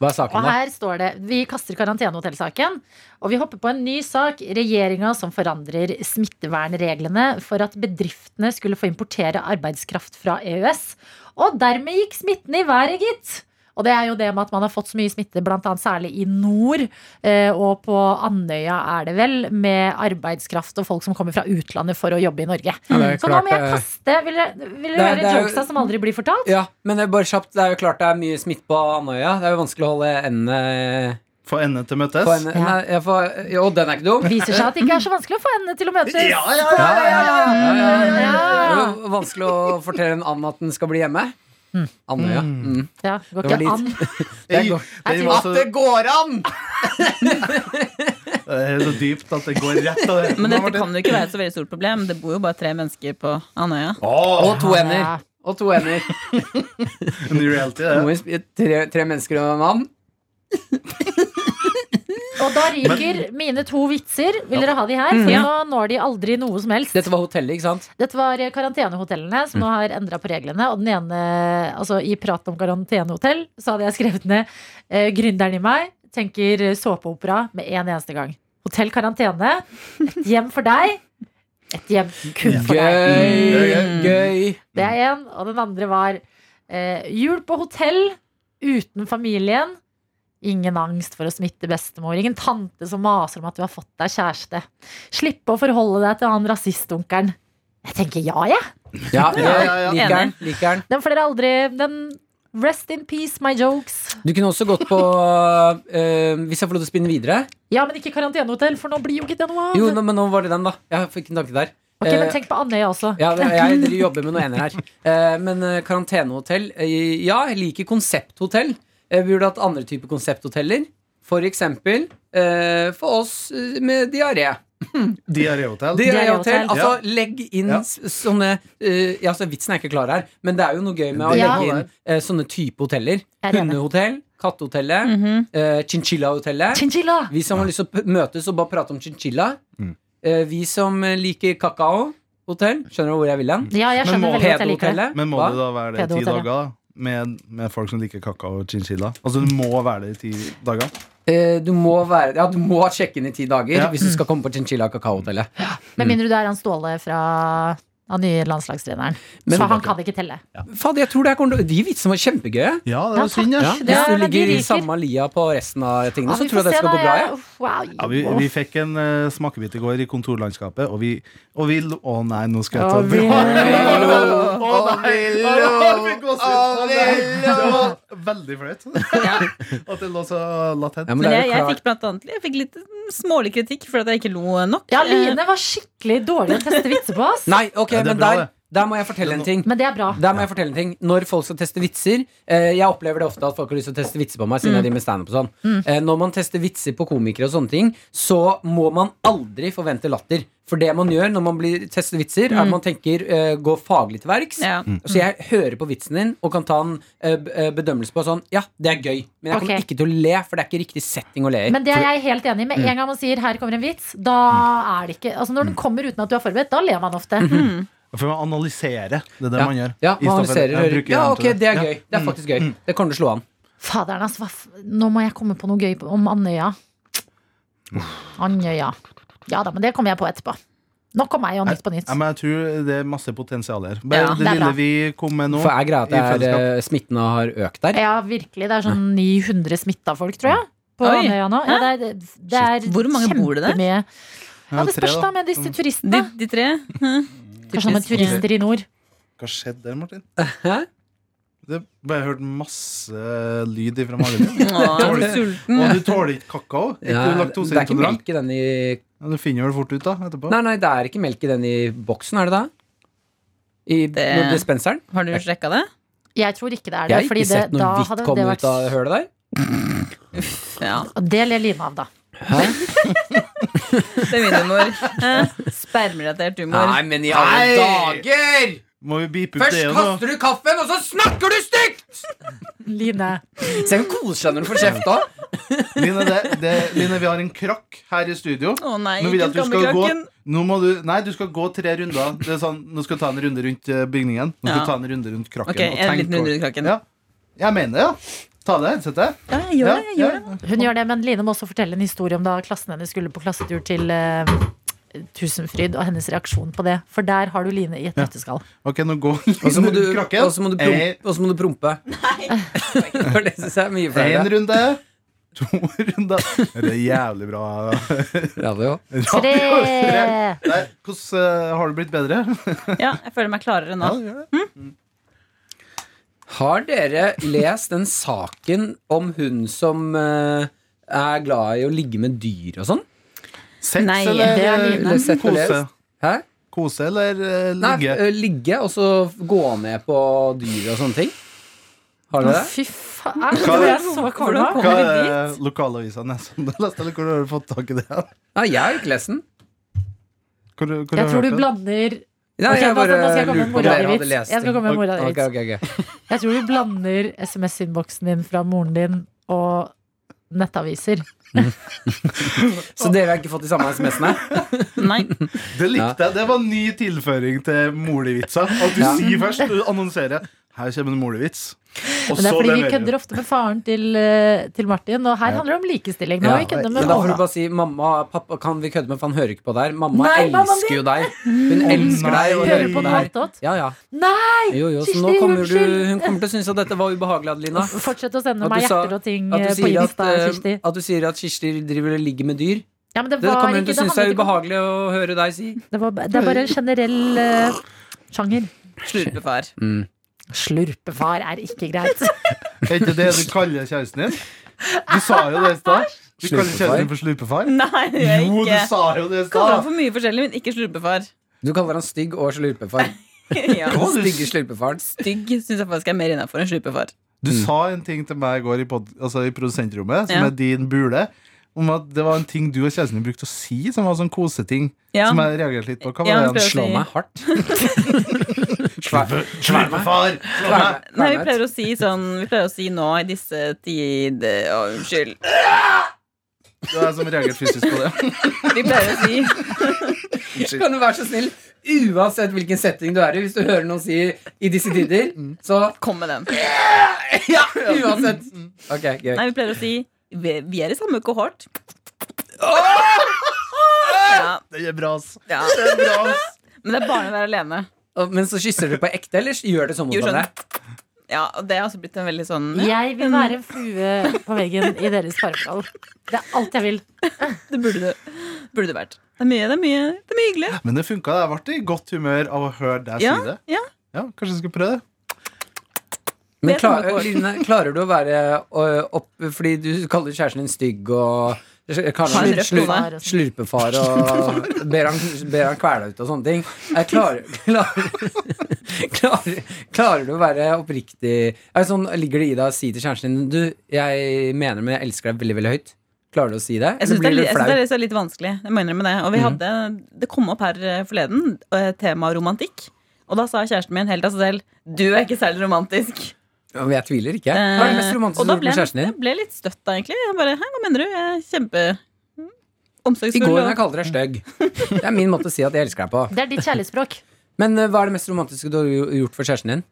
Hva er
Og
saken, da?
her står det Vi kaster karantenehotellsaken. Og vi hopper på en ny sak. Regjeringa som forandrer smittevernreglene for at bedriftene skulle få importere arbeidskraft fra EØS. Og dermed gikk smitten i været, gitt. Og det er jo det med at man har fått så mye smitte, bl.a. særlig i nord. eh, Og på Andøya er det vel, med arbeidskraft og folk som kommer fra utlandet for å jobbe i Norge.
Ja, det er
Så nå
klart
må jeg
det-
kaste Vil dere vil dere
Det er- det
høre
er jo-
jokesa som aldri blir fortalt?
Ja, men det er bare kjapt. Det er jo klart det er mye smitte på Andøya. Det er jo vanskelig å holde endene
Få endene til møtes.
på en,
Ja.
Nei, jeg får, Jo, den er ikke dum.
Viser seg at det ikke er så vanskelig å få endene til å møtes.
Ja, ja, ja, ja, ja, ja, ja. Det
Mm, Ja.
er jo vanskelig å fortelle en and at den skal bli hjemme. Andøya. Mm.
Ja, det går
Det
ikke
var litt-
an.
Det
Ei,
går-
den var
At
så,
det går an!
det er så dypt at det går rett av det.
Men dette kan jo ikke være et så veldig stort problem. Det bor jo bare tre mennesker på Andøya.
Og to
Ja.
ender. Og to ender.
En reality, det.
Noe i sp- Tre, tre mennesker og en and.
Og da ryker mine to vitser. Vil dere ha de her? For
Ja.
nå når de aldri noe som helst.
Dette var hotellet, ikke sant?
Dette var karantenehotellene som nå har endra på reglene. Og den ene, altså i prat om karantenehotell, så hadde jeg skrevet ned eh, gründeren i meg tenker såpeopera med en eneste gang. Hotell karantene. Et hjem for deg. Et hjem kun for deg. Mm.
Gøy! Gøy.
Det er
Mm.
én. Og den andre var eh, jul på hotell uten familien. Ingen angst for å smitte bestemor. Ingen tante som maser om at du har fått deg kjæreste. Slippe å forholde deg til han rasistunkeren. Jeg tenker ja, jeg.
Ja,
Ja, ja, ja.
liker den. Liker den.
Den får dere aldri den Rest in peace, my jokes.
Du kunne også gått på eh, Hvis jeg får lov til å spinne videre
Ja, men ikke karantenehotell, for nå blir jo ikke det noe av.
Jo, nå- men nå var det den, da. Jeg fikk en tanke der.
ok, men
Eh,
tenk på Andøya også.
ja, det- jeg driver- jobber med noe ener her. Eh, men eh, karantenehotell eh, Ja, jeg liker konsepthotell. Eh, vi burde hatt andre typer konsepthoteller. For eksempel eh, for oss eh, med diaré.
Diaréhotell.
Diaréhotell.
Diaré-hotell.
Altså, legg inn
Ja.
s- sånne eh, ja, altså, Vitsen er ikke klar her, men det er jo noe gøy med å
Det
er
legge
noe
inn eh, sånne type hoteller.
Jeg er enig. Mhm.
Hundehotell, kattehotellet, eh, chinchillahotellet.
Chinchilla!
Vi som har lyst til å p- møtes og bare prate om chinchilla.
Mm.
Eh, vi som eh, liker kakao. Hotell. Skjønner du hvor jeg vil hen?
Ja, jeg
Men
skjønner
må-
Mm. veldig godt jeg liker det.
Pedohotellet.
Men må
Hva?
det da være det i ti
Pedohotell, ja.
dager? da? Med, med folk som liker kakao og chinchilla? Altså, det må være det i ti dager.
Eh, du må være Ja, du må sjekke inn i ti dager
Ja.
hvis du skal komme på chinchilla- og kakaohotellet.
Med mindre du er han Ståle fra av nye landslagstreneren.
Men-
så han kan ikke telle.
Fader, jeg tror det her kommer til De vitsene var kjempegøye.
Ja, det var synd,
Ja,
ja.
det
hvis
er-
du
men de
ligger i
ryker.
samme lia på resten av tingene, så
vi
tror jeg
får
det
se
skal
da,
gå bra.
jeg-
Ja.
Uff, wow.
Ja, vi, vi fikk en eh, smakebit i går i kontorlandskapet, og vi, og vi lo- Å nei, nå skal jeg ta
Ja, vi-
Å nei! Å, vi gåsehud. Å, nei. Det var veldig flaut. At det lå så latent.
men
Men
det er
jeg,
jo
jeg
klart-
fikk blant annet jeg fikk litt mm, smålig kritikk for at jeg ikke lo nok.
Ja,
Eh,
Line var skikkelig dårlig å teste vitser på oss.
Nei, ok,
Ja, det er
men
bra,
der,
det.
der må jeg fortelle en ting.
Men det er bra.
Der må jeg fortelle en ting Når folk skal teste vitser eh, Jeg opplever det ofte at folk har lyst til å teste vitser på meg
Mm.
Siden jeg driver med stand-up og sånn eh, Når man tester vitser på komikere og sånne ting Så må man aldri forvente latter For det man gjør når man blir testet vitser
Mm.
Er at man tenker eh, gå faglig til verks Mm.
Ja.
Så jeg hører på vitsen din Og kan ta en eh, b- eh, bedømmelse på sånn Ja, det er gøy Men jeg kommer
Ok.
ikke til å le For det er ikke riktig setting å le i
Men det er jeg helt enig i. Med en gang man sier 'her kommer en vits', da er det ikke Altså Når den kommer uten at du er forberedt, da ler man ofte.
For man analyserer. Det er det
ja.
man gjør.
Ja,
i
man
stoffet.
analyserer
Jeg
og hører.
bruker
Ja,
hjernen
ok,
til
det er
Ja. Mm.
gøy Det er faktisk gøy Det kommer til å slå an
Faderen, altså. Hva f Nå må jeg komme på noe gøy på- om Andøya. Andøya. Ja da, men det kommer jeg på etterpå. Nok om meg og Nytt på nytt.
Ja, men jeg tror det er masse potensial her. Bare
Ja,
det,
det er
lille
bra.
vi kom med nå.
For jeg greier at
i
det er,
fellesskap.
eh, smitten har økt der
Ja, virkelig. Det er sånn 900 smitta folk, tror jeg. På
Oi.
Andøya nå. Ja, det er, det er
Shit. Hvor mange bor det der?
kjempemye. Ja, det
tre,
spørs
da. Mm.
da med disse turistene.
de, de tre. hm.
Kanskje noen turister i nord.
Hva skjedde der, Martin?
Hæ?
Det bare hørt masse lyd ifra magen din.
Å, jeg er så
Dårlig.
sulten.
Og du tåler ikke kakao? Ikke
Ja, det er ikke
laktoseintolerant?
melk i den i
Ja, du finner jo det fort ut da, etterpå.
Nei, nei, det er ikke melk i den i boksen, er det da? I
Det-
dispenseren?
Har du sjekka det?
Jeg tror ikke det er det.
Jeg har ikke
fordi det,
sett noe
da
hvitt
hadde
komme
det
ut av
vært
hølet der.
Ja,
Det ler Line av, da.
det er min humor. Eh, Spermrelatert humor.
men i
alle
dager!
Må vi beepe ut det nå?
du kaffen, og så snakker du stygt!
Line.
Se hvor koser deg når du får kjeft òg.
Line, det, det, Line, vi har en krakk her i studio.
Å nei,
Nå vil jeg
ikke
at du skal gå
skammekrakken.
Nå må du, Nei, du skal gå tre runder. Det er sånn, nå skal du ta en runde rundt eh, bygningen. Nå skal du
Ja.
ta en runde rundt krakken.
Ok,
og
en
tenk
liten runde
over-
rundt krakken.
Ja. Jeg mener det, ja. Ta det headsetet.
Ja, jeg gjør det. Jeg gjør det.
Hun gjør det, men Line må også fortelle en historie om da klassen hennes skulle på klassetur til eh, Tusenfryd, og hennes reaksjon på det. For der har du Line i et nøtteskall.
Ok, nå går
Og så må
Line
du,
rundt krakken.
og så må du prompe.
Eh,
Og så må du prompe. For det syns jeg er mye
En
flere.
runde. To runder. Det er jævlig bra.
Radio.
Tre!
Der. Hvordan eh, har du blitt bedre?
Ja, jeg føler meg klarere nå.
Ja, du gjør det.
Har dere lest den saken om hun som eh, er glad i å ligge med dyr og sånn?
Sex
Nei,
eller
det er
eh,
Line.
Eller sett og
kose?
lest? Hæ?
Kose eller eh,
Nei,
ligge?
ø, ligge og så gå ned på dyr og sånne ting. Har du det?
Fy faen. Jeg tror jeg så kåla.
Hva er lokalavisa Nesodden? Du leste, eller Hvor har du fått tak i det? her?
Nei, jeg har ikke lest den.
Hvor, hvor
Jeg
har
tror
hørt
du
det?
blander
Nei,
Ok,
jeg
da-
bare
da skal jeg komme
lurer
med
på om
mora
dere
di
hadde
vits.
lest den.
Jeg skal komme med mora di
Ok, ok, ok, ok.
Jeg tror du blander SMS-innboksen din fra moren din og nettaviser.
Så dere har ikke fått de samme SMS-ene?
Nei.
Det likte jeg. Det var en ny tilføring til molivitsa. At du
Ja.
sier først, du annonserer her kommer en molivits. Og
Men det er
så
fordi vi
leverer du.
kødder ofte med faren til, eh, til Martin, og her handler det om likestilling. Nå har vi
Ja.
kødder
Men
med
da får du
mamma.
bare si mamma, pappa, kan vi kødde med, for han hører ikke på der. Mamma
Nei, mamma
elsker jo deg. Hun elsker
nei.
deg og
Hører
hører
på
på
noe
deg.
attåt.
Ja, ja.
Nei!
Jo, jo, så
Kirsti,
nå kommer du
unnskyld.
Hun kommer til å synes at dette var ubehagelig, Adelina.
Fortsett å sende
At
meg
du sa-
hjerter og ting
At
eh,
du
på
sier at,
Insta,
eh,
Kirsti.
at, du sier at Kirsti driver og ligger med dyr.
Ja, men det
Det
var
kommer hun
ikke
til
det
å synes er
handlet ikke om
ubehagelig å høre deg si.
det, var, det er bare en generell eh, sjanger.
Slurpefar.
Slurpefar er ikke greit.
Er ikke det du kaller kjæresten din? Du sa jo det i stad. Du kaller kjæresten din for slurpefar?
Nei, det gjør jeg
Jo, du
ikke.
sa jo det i
Kaller han
stad.
for mye forskjellig, men ikke slurpefar.
Du kaller han stygg og slurpefar.
Ja.
Å, du-
Stygge slurpefaren.
Stygg syns jeg faktisk er mer innafor enn slurpefar.
Du sa en ting til meg i går i, pod, altså i produsentrommet, som
Ja.
er din bule. Om at det var en ting du og kjæresten din brukte å si, som var sånn koseting.
Ja.
Som jeg reagerte litt på. Hva var
Ja,
det?
prøv.
Slå meg hardt. Slå meg.
Slurpefar!
Slå meg.
Nei, vi pleier å si sånn Vi pleier å si nå i disse tider Å, unnskyld.
Det er jeg som reagerte fysisk på det.
Vi pleier å si
Kan du være så snill, uansett hvilken setting du er i, hvis du hører noen si 'i disse tider', så
Kom med den.
Ja, uansett. Ok, gøy.
Nei, vi pleier å si Vi, vi er i samme kohort. Ja,
Det er bra, ass.
ja.
Det er bra, ass.
Men det er bare å være alene.
Og- Men så kysser du på ekte, eller gjør det sånn mot
Gjør sånn.
hverandre?
Ja, og det har
altså
også blitt en veldig sånn
Jeg vil være en flue på veggen i deres parforhold. Det er alt jeg vil.
Det burde du, burde du vært. Det er mye, det er mye, det er mye hyggelig.
Men det funka. Jeg ble i godt humør av å høre deg
Ja,
si det.
ja.
Ja, Kanskje jeg skal prøve det.
Men
Det er
klar,
sånn det
Line, klarer du å være ø, opp Fordi du kaller kjæresten din stygg og kaller
Har
han
en røff
slur,
kone.
sånn.
slurpefar og ber han, ber han kvele ut og sånne ting. Jeg klarer, klarer, klarer, klarer du å være oppriktig er det sånn, Ligger det i deg å si til kjæresten din Du, jeg mener men jeg elsker deg veldig, veldig høyt. Klarer du å si det?
Jeg
Eller
syns det, er
blir
litt- jeg
du
synes
flau?
det er litt- så litt vanskelig. Jeg må innrømme det. Og vi
Mhm.
hadde, det kom opp her eh, forleden, eh, tema romantikk. Og da sa kjæresten min helt av seg selv Du er ikke særlig romantisk.
Ja, men jeg tviler
Eh,
ikke. Hva er det mest romantiske
og
du
da
har gjort
ble
med
jeg,
kjæresten din?
jeg ble litt støtt da, egentlig. Jeg bare, Hæ, hva mener du? Jeg er kjempe mm,
I går
omsorgsfull.
da jeg
og-
kalte deg stygg. Det er min måte å si at jeg elsker deg på.
Det er ditt kjærlighetsspråk.
Men ø, hva er det mest romantiske du har gjo- gjort for kjæresten din?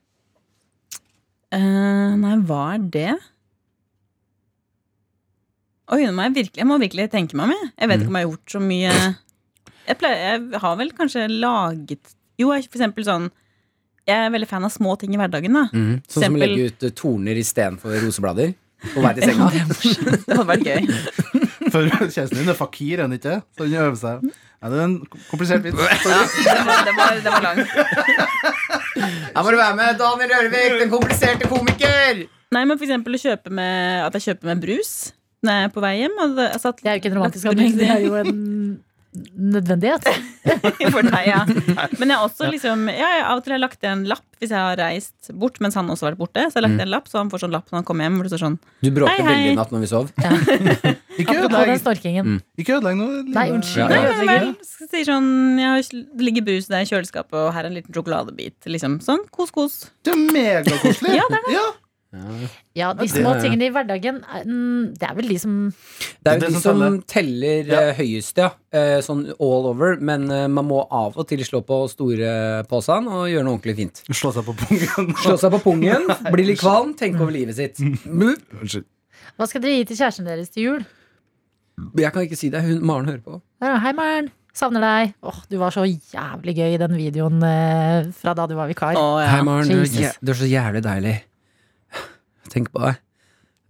Eh, nei, hva er det? Oi, nå må jeg virkelig, jeg må virkelig tenke meg om. jeg. Jeg vet ikke om jeg har gjort så mye Jeg, pleier, jeg har vel kanskje laget Jo, jeg, for eksempel sånn Jeg er veldig fan av små ting i hverdagen, da.
Sånn som å
Eksempel-
legge ut eh, torner istedenfor roseblader? Og være i senga?
Det hadde vært gøy.
For kjæresten din er fakir, er han ikke? Så han øver seg. Ja, det er en komplisert vits.
Det var, det var, det var langt.
Her må du være med, Daniel Rørvik, den kompliserte komiker!
Nei, men for eksempel å kjøpe med, at jeg kjøper med brus når jeg er på vei hjem. Og det, altså, jeg satt,
Det er jo ikke en romantisk handling, det er jo en nødvendighet.
for deg, ja. Men jeg har også liksom ja, jeg, Av og til har jeg lagt igjen en lapp hvis jeg har reist bort mens han også har vært borte. Så jeg har lagt igjen en lapp, så han får sånn lapp når han kommer hjem. Hvor det står sånn
Du bråkte
Hei, hei.
veldig i natt når vi sov.
Ikke
Apropos den
ødelegg
snorkingen.
Ikke ødelegg noe.
Nei, unnskyld.
Ja,
Nei,
ja.
men vel, så sier sånn jeg har, ikke- Det ligger brus der i kjøleskapet, og her er en liten sjokoladebit. Liksom sånn, Kos, kos.
Det er megakoselig.
Ja,
ja.
Ja, de
det-
små tingene i hverdagen, eh, mm, det er vel de som
Det er jo
Det er
de
som
som teller
Ja.
eh, høyest, ja. Eh, Sånn all over. Men eh, man må av og til slå på store påsan og gjøre noe ordentlig fint.
Slå seg på pungen.
Slå seg på pungen, bli litt kvalm, tenke over livet sitt. Blup.
Unnskyld.
Hva skal dere gi til kjæresten deres til jul?
Jeg kan ikke si det. Hun, Maren hører på.
Ja, Hei, Maren. Savner deg. Åh, du var så jævlig gøy i den videoen eh, fra da du var vikar.
Å, ja.
Hei, Maren. Du, er
Jesus.
jæ- du er så jævlig deilig. Tenk på deg.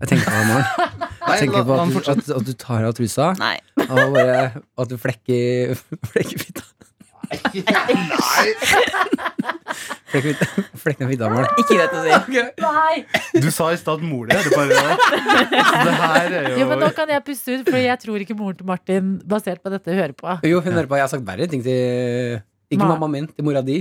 Jeg tenker på deg, Maren.
Nei,
Jeg tenker
la-
på
la
at
han
du,
fortsette.
at, at du tar av trusa.
Nei.
Og bare at du flekker Flekker fitta. Flekker fitta- Flekken av fitta vår.
Ikke greit å si.
Nei!
Du sa i stad at mor di er det bare Det her er jo,
Jo, men nå kan jeg puste ut, for jeg tror ikke moren til Martin, basert på dette, hører på.
Jo, hun hører på. Jeg har sagt verre ting til Ikke
Ma-
mammaen min, til mora di.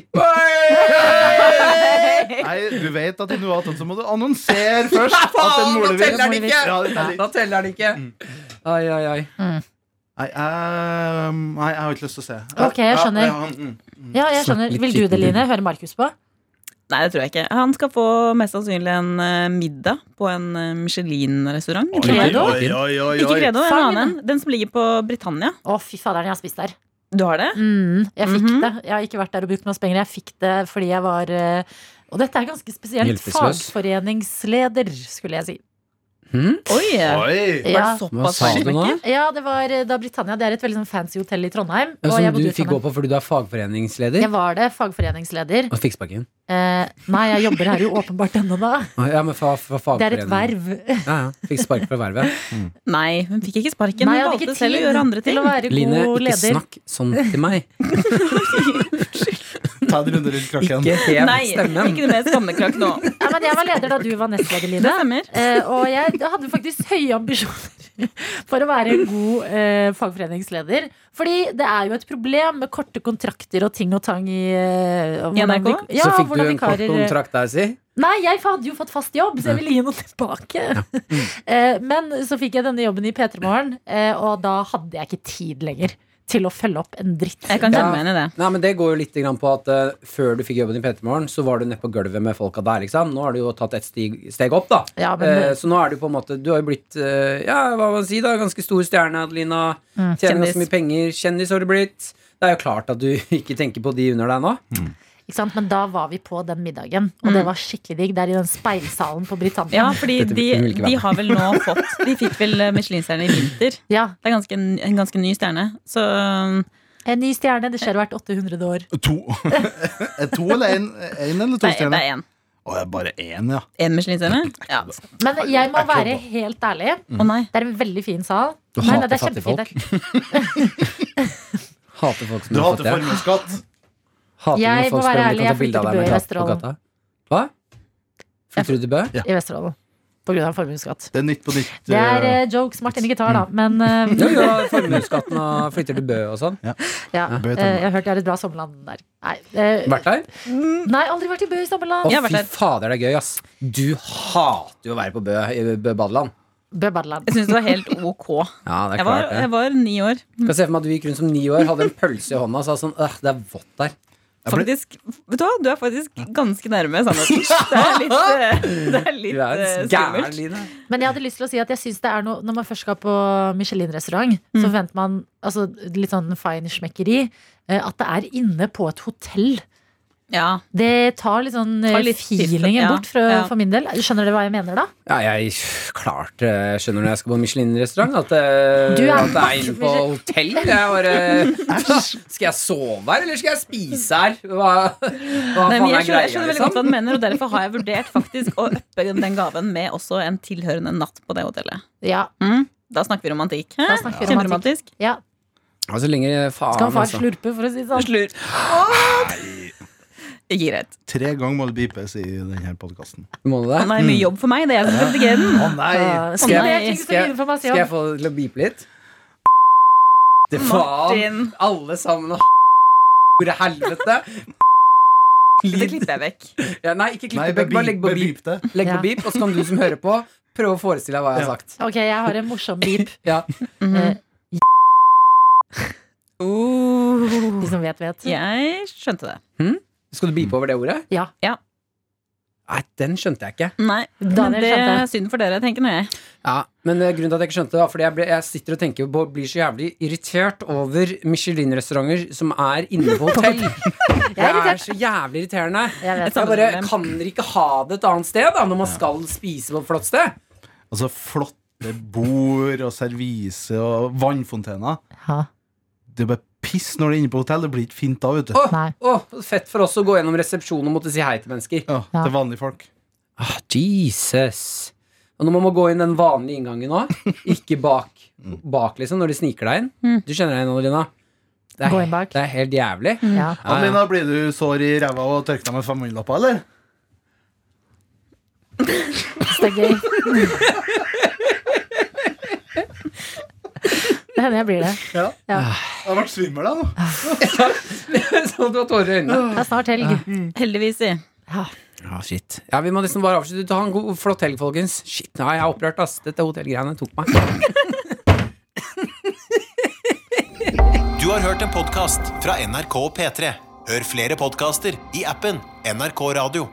Nei, du vet at i noe annet så må du annonsere først at en mor di
teller den ikke!
Ja, det teller ikke.
Da teller den ikke! Mm. Ai, ai, ai.
Nei, jeg, nei, jeg har ikke lyst til å se.
Ok, jeg skjønner.
Ja, ja, mm.
Ja, jeg
Snakk
skjønner.
litt
Vil du det,
skittent.
Line? Hører Markus på?
Nei, det tror jeg ikke. Han skal få mest sannsynlig en eh, middag på en eh, Michelin-restaurant. i
Oi,
Trondheim.
Credo?
oi, oi, oi,
Ikke
oi.
Credo, en
Fangen.
annen. en. Den som ligger på Britannia.
Å, fy faderen, jeg har spist der.
Du har det?
Mm, jeg fikk
Mhm.
det. Jeg har ikke vært der og brukt masse penger. Jeg fikk det fordi jeg var eh, Og dette er ganske spesielt.
Hjelpeløs.
Fagforeningsleder, skulle jeg si. Hmm?
Hm?
Oi! Var
Oi.
det
Ja.
Hva
såpass
sa du nå?
Ja, det var eh, da Britannia. Det er et veldig sånn fancy hotell i Trondheim.
Ja,
og jeg
Som du
bodde i
fikk gå
Trondheim.
på fordi du er fagforeningsleder?
Jeg var det. Fagforeningsleder.
Og fikk spaken?
Eh, nei, jeg jobber her jo åpenbart ennå, da.
Ja, men fa, fa,
Det er et
fagforening.
verv.
Ja, ja. Fikk spark fra vervet.
Nei, hun fikk ikke sparken.
Nei,
hun
jeg hadde
valgte
ikke
selv å gjøre andre
tid
ting.
til å være
Line,
god
ikke
leder.
snakk sånn til meg.
Ta en runde rundt krakken.
Ikke hev
Nei,
stemmen.
ikke noe mer skammekrakk nå.
Nei, men jeg var leder da du var nestleder, Line.
Det stemmer.
Eh, og jeg hadde faktisk høye ambisjoner for å være en god eh, fagforeningsleder. Fordi det er jo et problem med korte kontrakter og ting og tang i eh,
I
hvordan
NRK?
vi- Ja,
så fikk du
hvordan
en kort
vikarer-
kontrakt der, si.
Nei, jeg hadde jo fått fast jobb, så jeg ville gi noe tilbake. Eh, Men så fikk jeg denne jobben i P3 Morgen, eh, og da hadde jeg ikke tid lenger til å følge opp en dritt.
Jeg kan
Ja.
kjenne meg igjen i det.
Nei, men Det går jo litt grann på at eh, før du fikk jobben i P3 Morgen, så var du nede på gulvet med folka der, liksom. Nå har du jo tatt et stig, steg opp, da.
Ja, men-
Eh, så nå er du på en måte Du har jo blitt eh, ja, hva man si da, ganske stor stjerne, Adelina.
Mm,
Tjener
kjendis.
ganske mye penger. Kjendis har du blitt. Det er jo klart at du ikke tenker på de under deg nå.
Ikke sant? Men da var vi på den middagen, og det var skikkelig digg. Der i den speilsalen på Britannia.
Ja, fordi
Dette
de,
vil ikke være
de
med.
har vel nå fått De fikk vel eh, Michelin-stjerne i vinter.
Ja,
Det er ganske, en ganske ny stjerne. Så um,
En ny stjerne. Det skjer hvert 800 år.
To. Er to eller én eller to
Nei, det
stjerner?
er én.
Å, det er bare én, ja.
Én Michelin-stjerne? Ja.
Men jeg må
Jeg
være
klobber.
helt ærlig.
Å nei.
Det er en veldig fin sal.
Du
Nei, nei,
hater
det er
fattige
kjempefint
folk.
der.
Hater folk som
Du
er
hater
fattige.
formuesskatt.
Hater
Jeg må
når folk
være
spør om
ærlig,
de kan
jeg
ta bilde av
flytter til
deg med en
Bø i
katt på gata. Hva? Flytter du til Bø?
I Vesterålen. På grunn av formuesskatt.
Det er nytt på nytt.
Det er
eh,
eh, jokes Martin ikke tar, da. Men eh,
Jo, jo, formuesskatten og flytter til Bø og sånn.
ja,
Bø i
eh, jeg har hørt de har et bra sommerland der. Nei, eh,
Vært der?
nei aldri vært i Bø i sommerland.
Å,
Jeg har vært
fy
der.
fader, det er gøy, ass. Du hater jo å være på Bø i Bø badeland.
Bø badeland.
Jeg syns det var helt ok.
Ja, det er
Jeg var,
klart det.
jeg var ni år.
Skal se for meg at du gikk rundt som ni år, hadde en pølse i hånda og sa sånn Åh, det er vått der.
Faktisk, vet du hva, du er faktisk ganske nærme sannheten. Det er litt, eh, det er
Du
litt
er
eh,
gæren,
skummelt.
Line.
Men jeg hadde lyst til å si at jeg synes det er noe Når man først skal på Michelin-restaurant,
Mm.
så forventer man altså, litt sånn fine smekkeri. eh, At det er inne på et hotell.
Ja.
Det tar litt sånn eh,
Tar litt
feelingen
tiffen, ja.
bort for,
Ja.
for min del. Skjønner dere hva jeg mener da?
Ja, jeg klart eh, skjønner når jeg skal på Michelin-restaurant at, eh,
Du er
at det er inne på hotell. Jeg bare Skal jeg sove her, eller skal jeg spise her? Hva, hva
Nei, men jeg
faen
skjønner,
er
jeg
greia,
skjønner veldig godt hva
liksom?
du mener, og derfor har jeg vurdert faktisk å uppe den gaven med også en tilhørende natt på det hotellet.
Ja.
Mm. Da snakker vi romantikk. Hæ?
Da snakker vi romantikk.
Kjemperomantisk.
ja.
Ja, så lenge faen,
Skal far
altså.
slurpe, for å si det sånn?
Slurp. Greit.
Tre ganger må det beepes i denne podkasten.
Må
Å
du det?
nei, mye jobb for meg. Det er jeg som skal redigere den.
Å nei!
Skal
Uh,
jeg-
skal jeg- Skal jeg få det til å bipe litt? Det faen!
Martin.
Alle sammen og Hvor er helvete?
Det klipper jeg vekk.
Ja, nei, ikke klipp
Nei,
det vekk. Bare legg på beep.
beep det.
Legg på
Ja.
beep, og så kan du som hører på, prøve å forestille deg hva jeg har sagt.
Ok, jeg har en morsom beep.
Ja.
Eh,
Mhm. Uh.
de som vet, vet.
Jeg skjønte det.
Skal du beepe over det ordet?
Ja.
Ja.
Nei, den skjønte jeg ikke.
Nei, men
Daniel
det
skjønte.
er synd for dere, tenker nå jeg.
Ja, Men eh, grunnen til at jeg ikke skjønte det, var fordi jeg, ble, jeg sitter og tenker på blir så jævlig irritert over Michelin-restauranter som er inne på hotell. Det er så jævlig irriterende.
Jeg vet.
Jeg bare kan dere ikke ha det et annet sted da når man skal spise på et flott sted?
Altså flotte bord og servise og vannfontener.
Ja.
Det er bare piss når du er inne på hotell. Det blir ikke fint da, vet du.
Åh,
Nei.
åh, fett for oss å gå gjennom resepsjonen og måtte si hei til mennesker.
Ja,
Ja.
Til vanlige folk.
Ah, Jesus. Og når man må gå inn den vanlige inngangen òg, ikke bak, bak liksom, når de sniker deg inn. Du kjenner deg igjen nå, Lina. Det
Mm. Gå
er,
inn bak. Mm.
det er helt jævlig.
Ja.
Ja, ja.
Adelina, blir du sår i ræva og tørker deg med femhundrelapper, eller?
Så det er gøy. Det hender jeg blir det.
Jeg har vært svimmel, da. nå.
sånn at du har tårer i øynene.
Det er snart helg.
Heldigvis, si.
Ja.
Ja, Ah, shit. Ja, Vi må nesten bare avslutte. Ta en god, flott helg, folkens. Shit, nei, jeg er opprørt, ass. Dette hotellgreiene tok meg.
Du har hørt en podcast fra NRK P3. Hør flere podcaster i appen NRK Radio.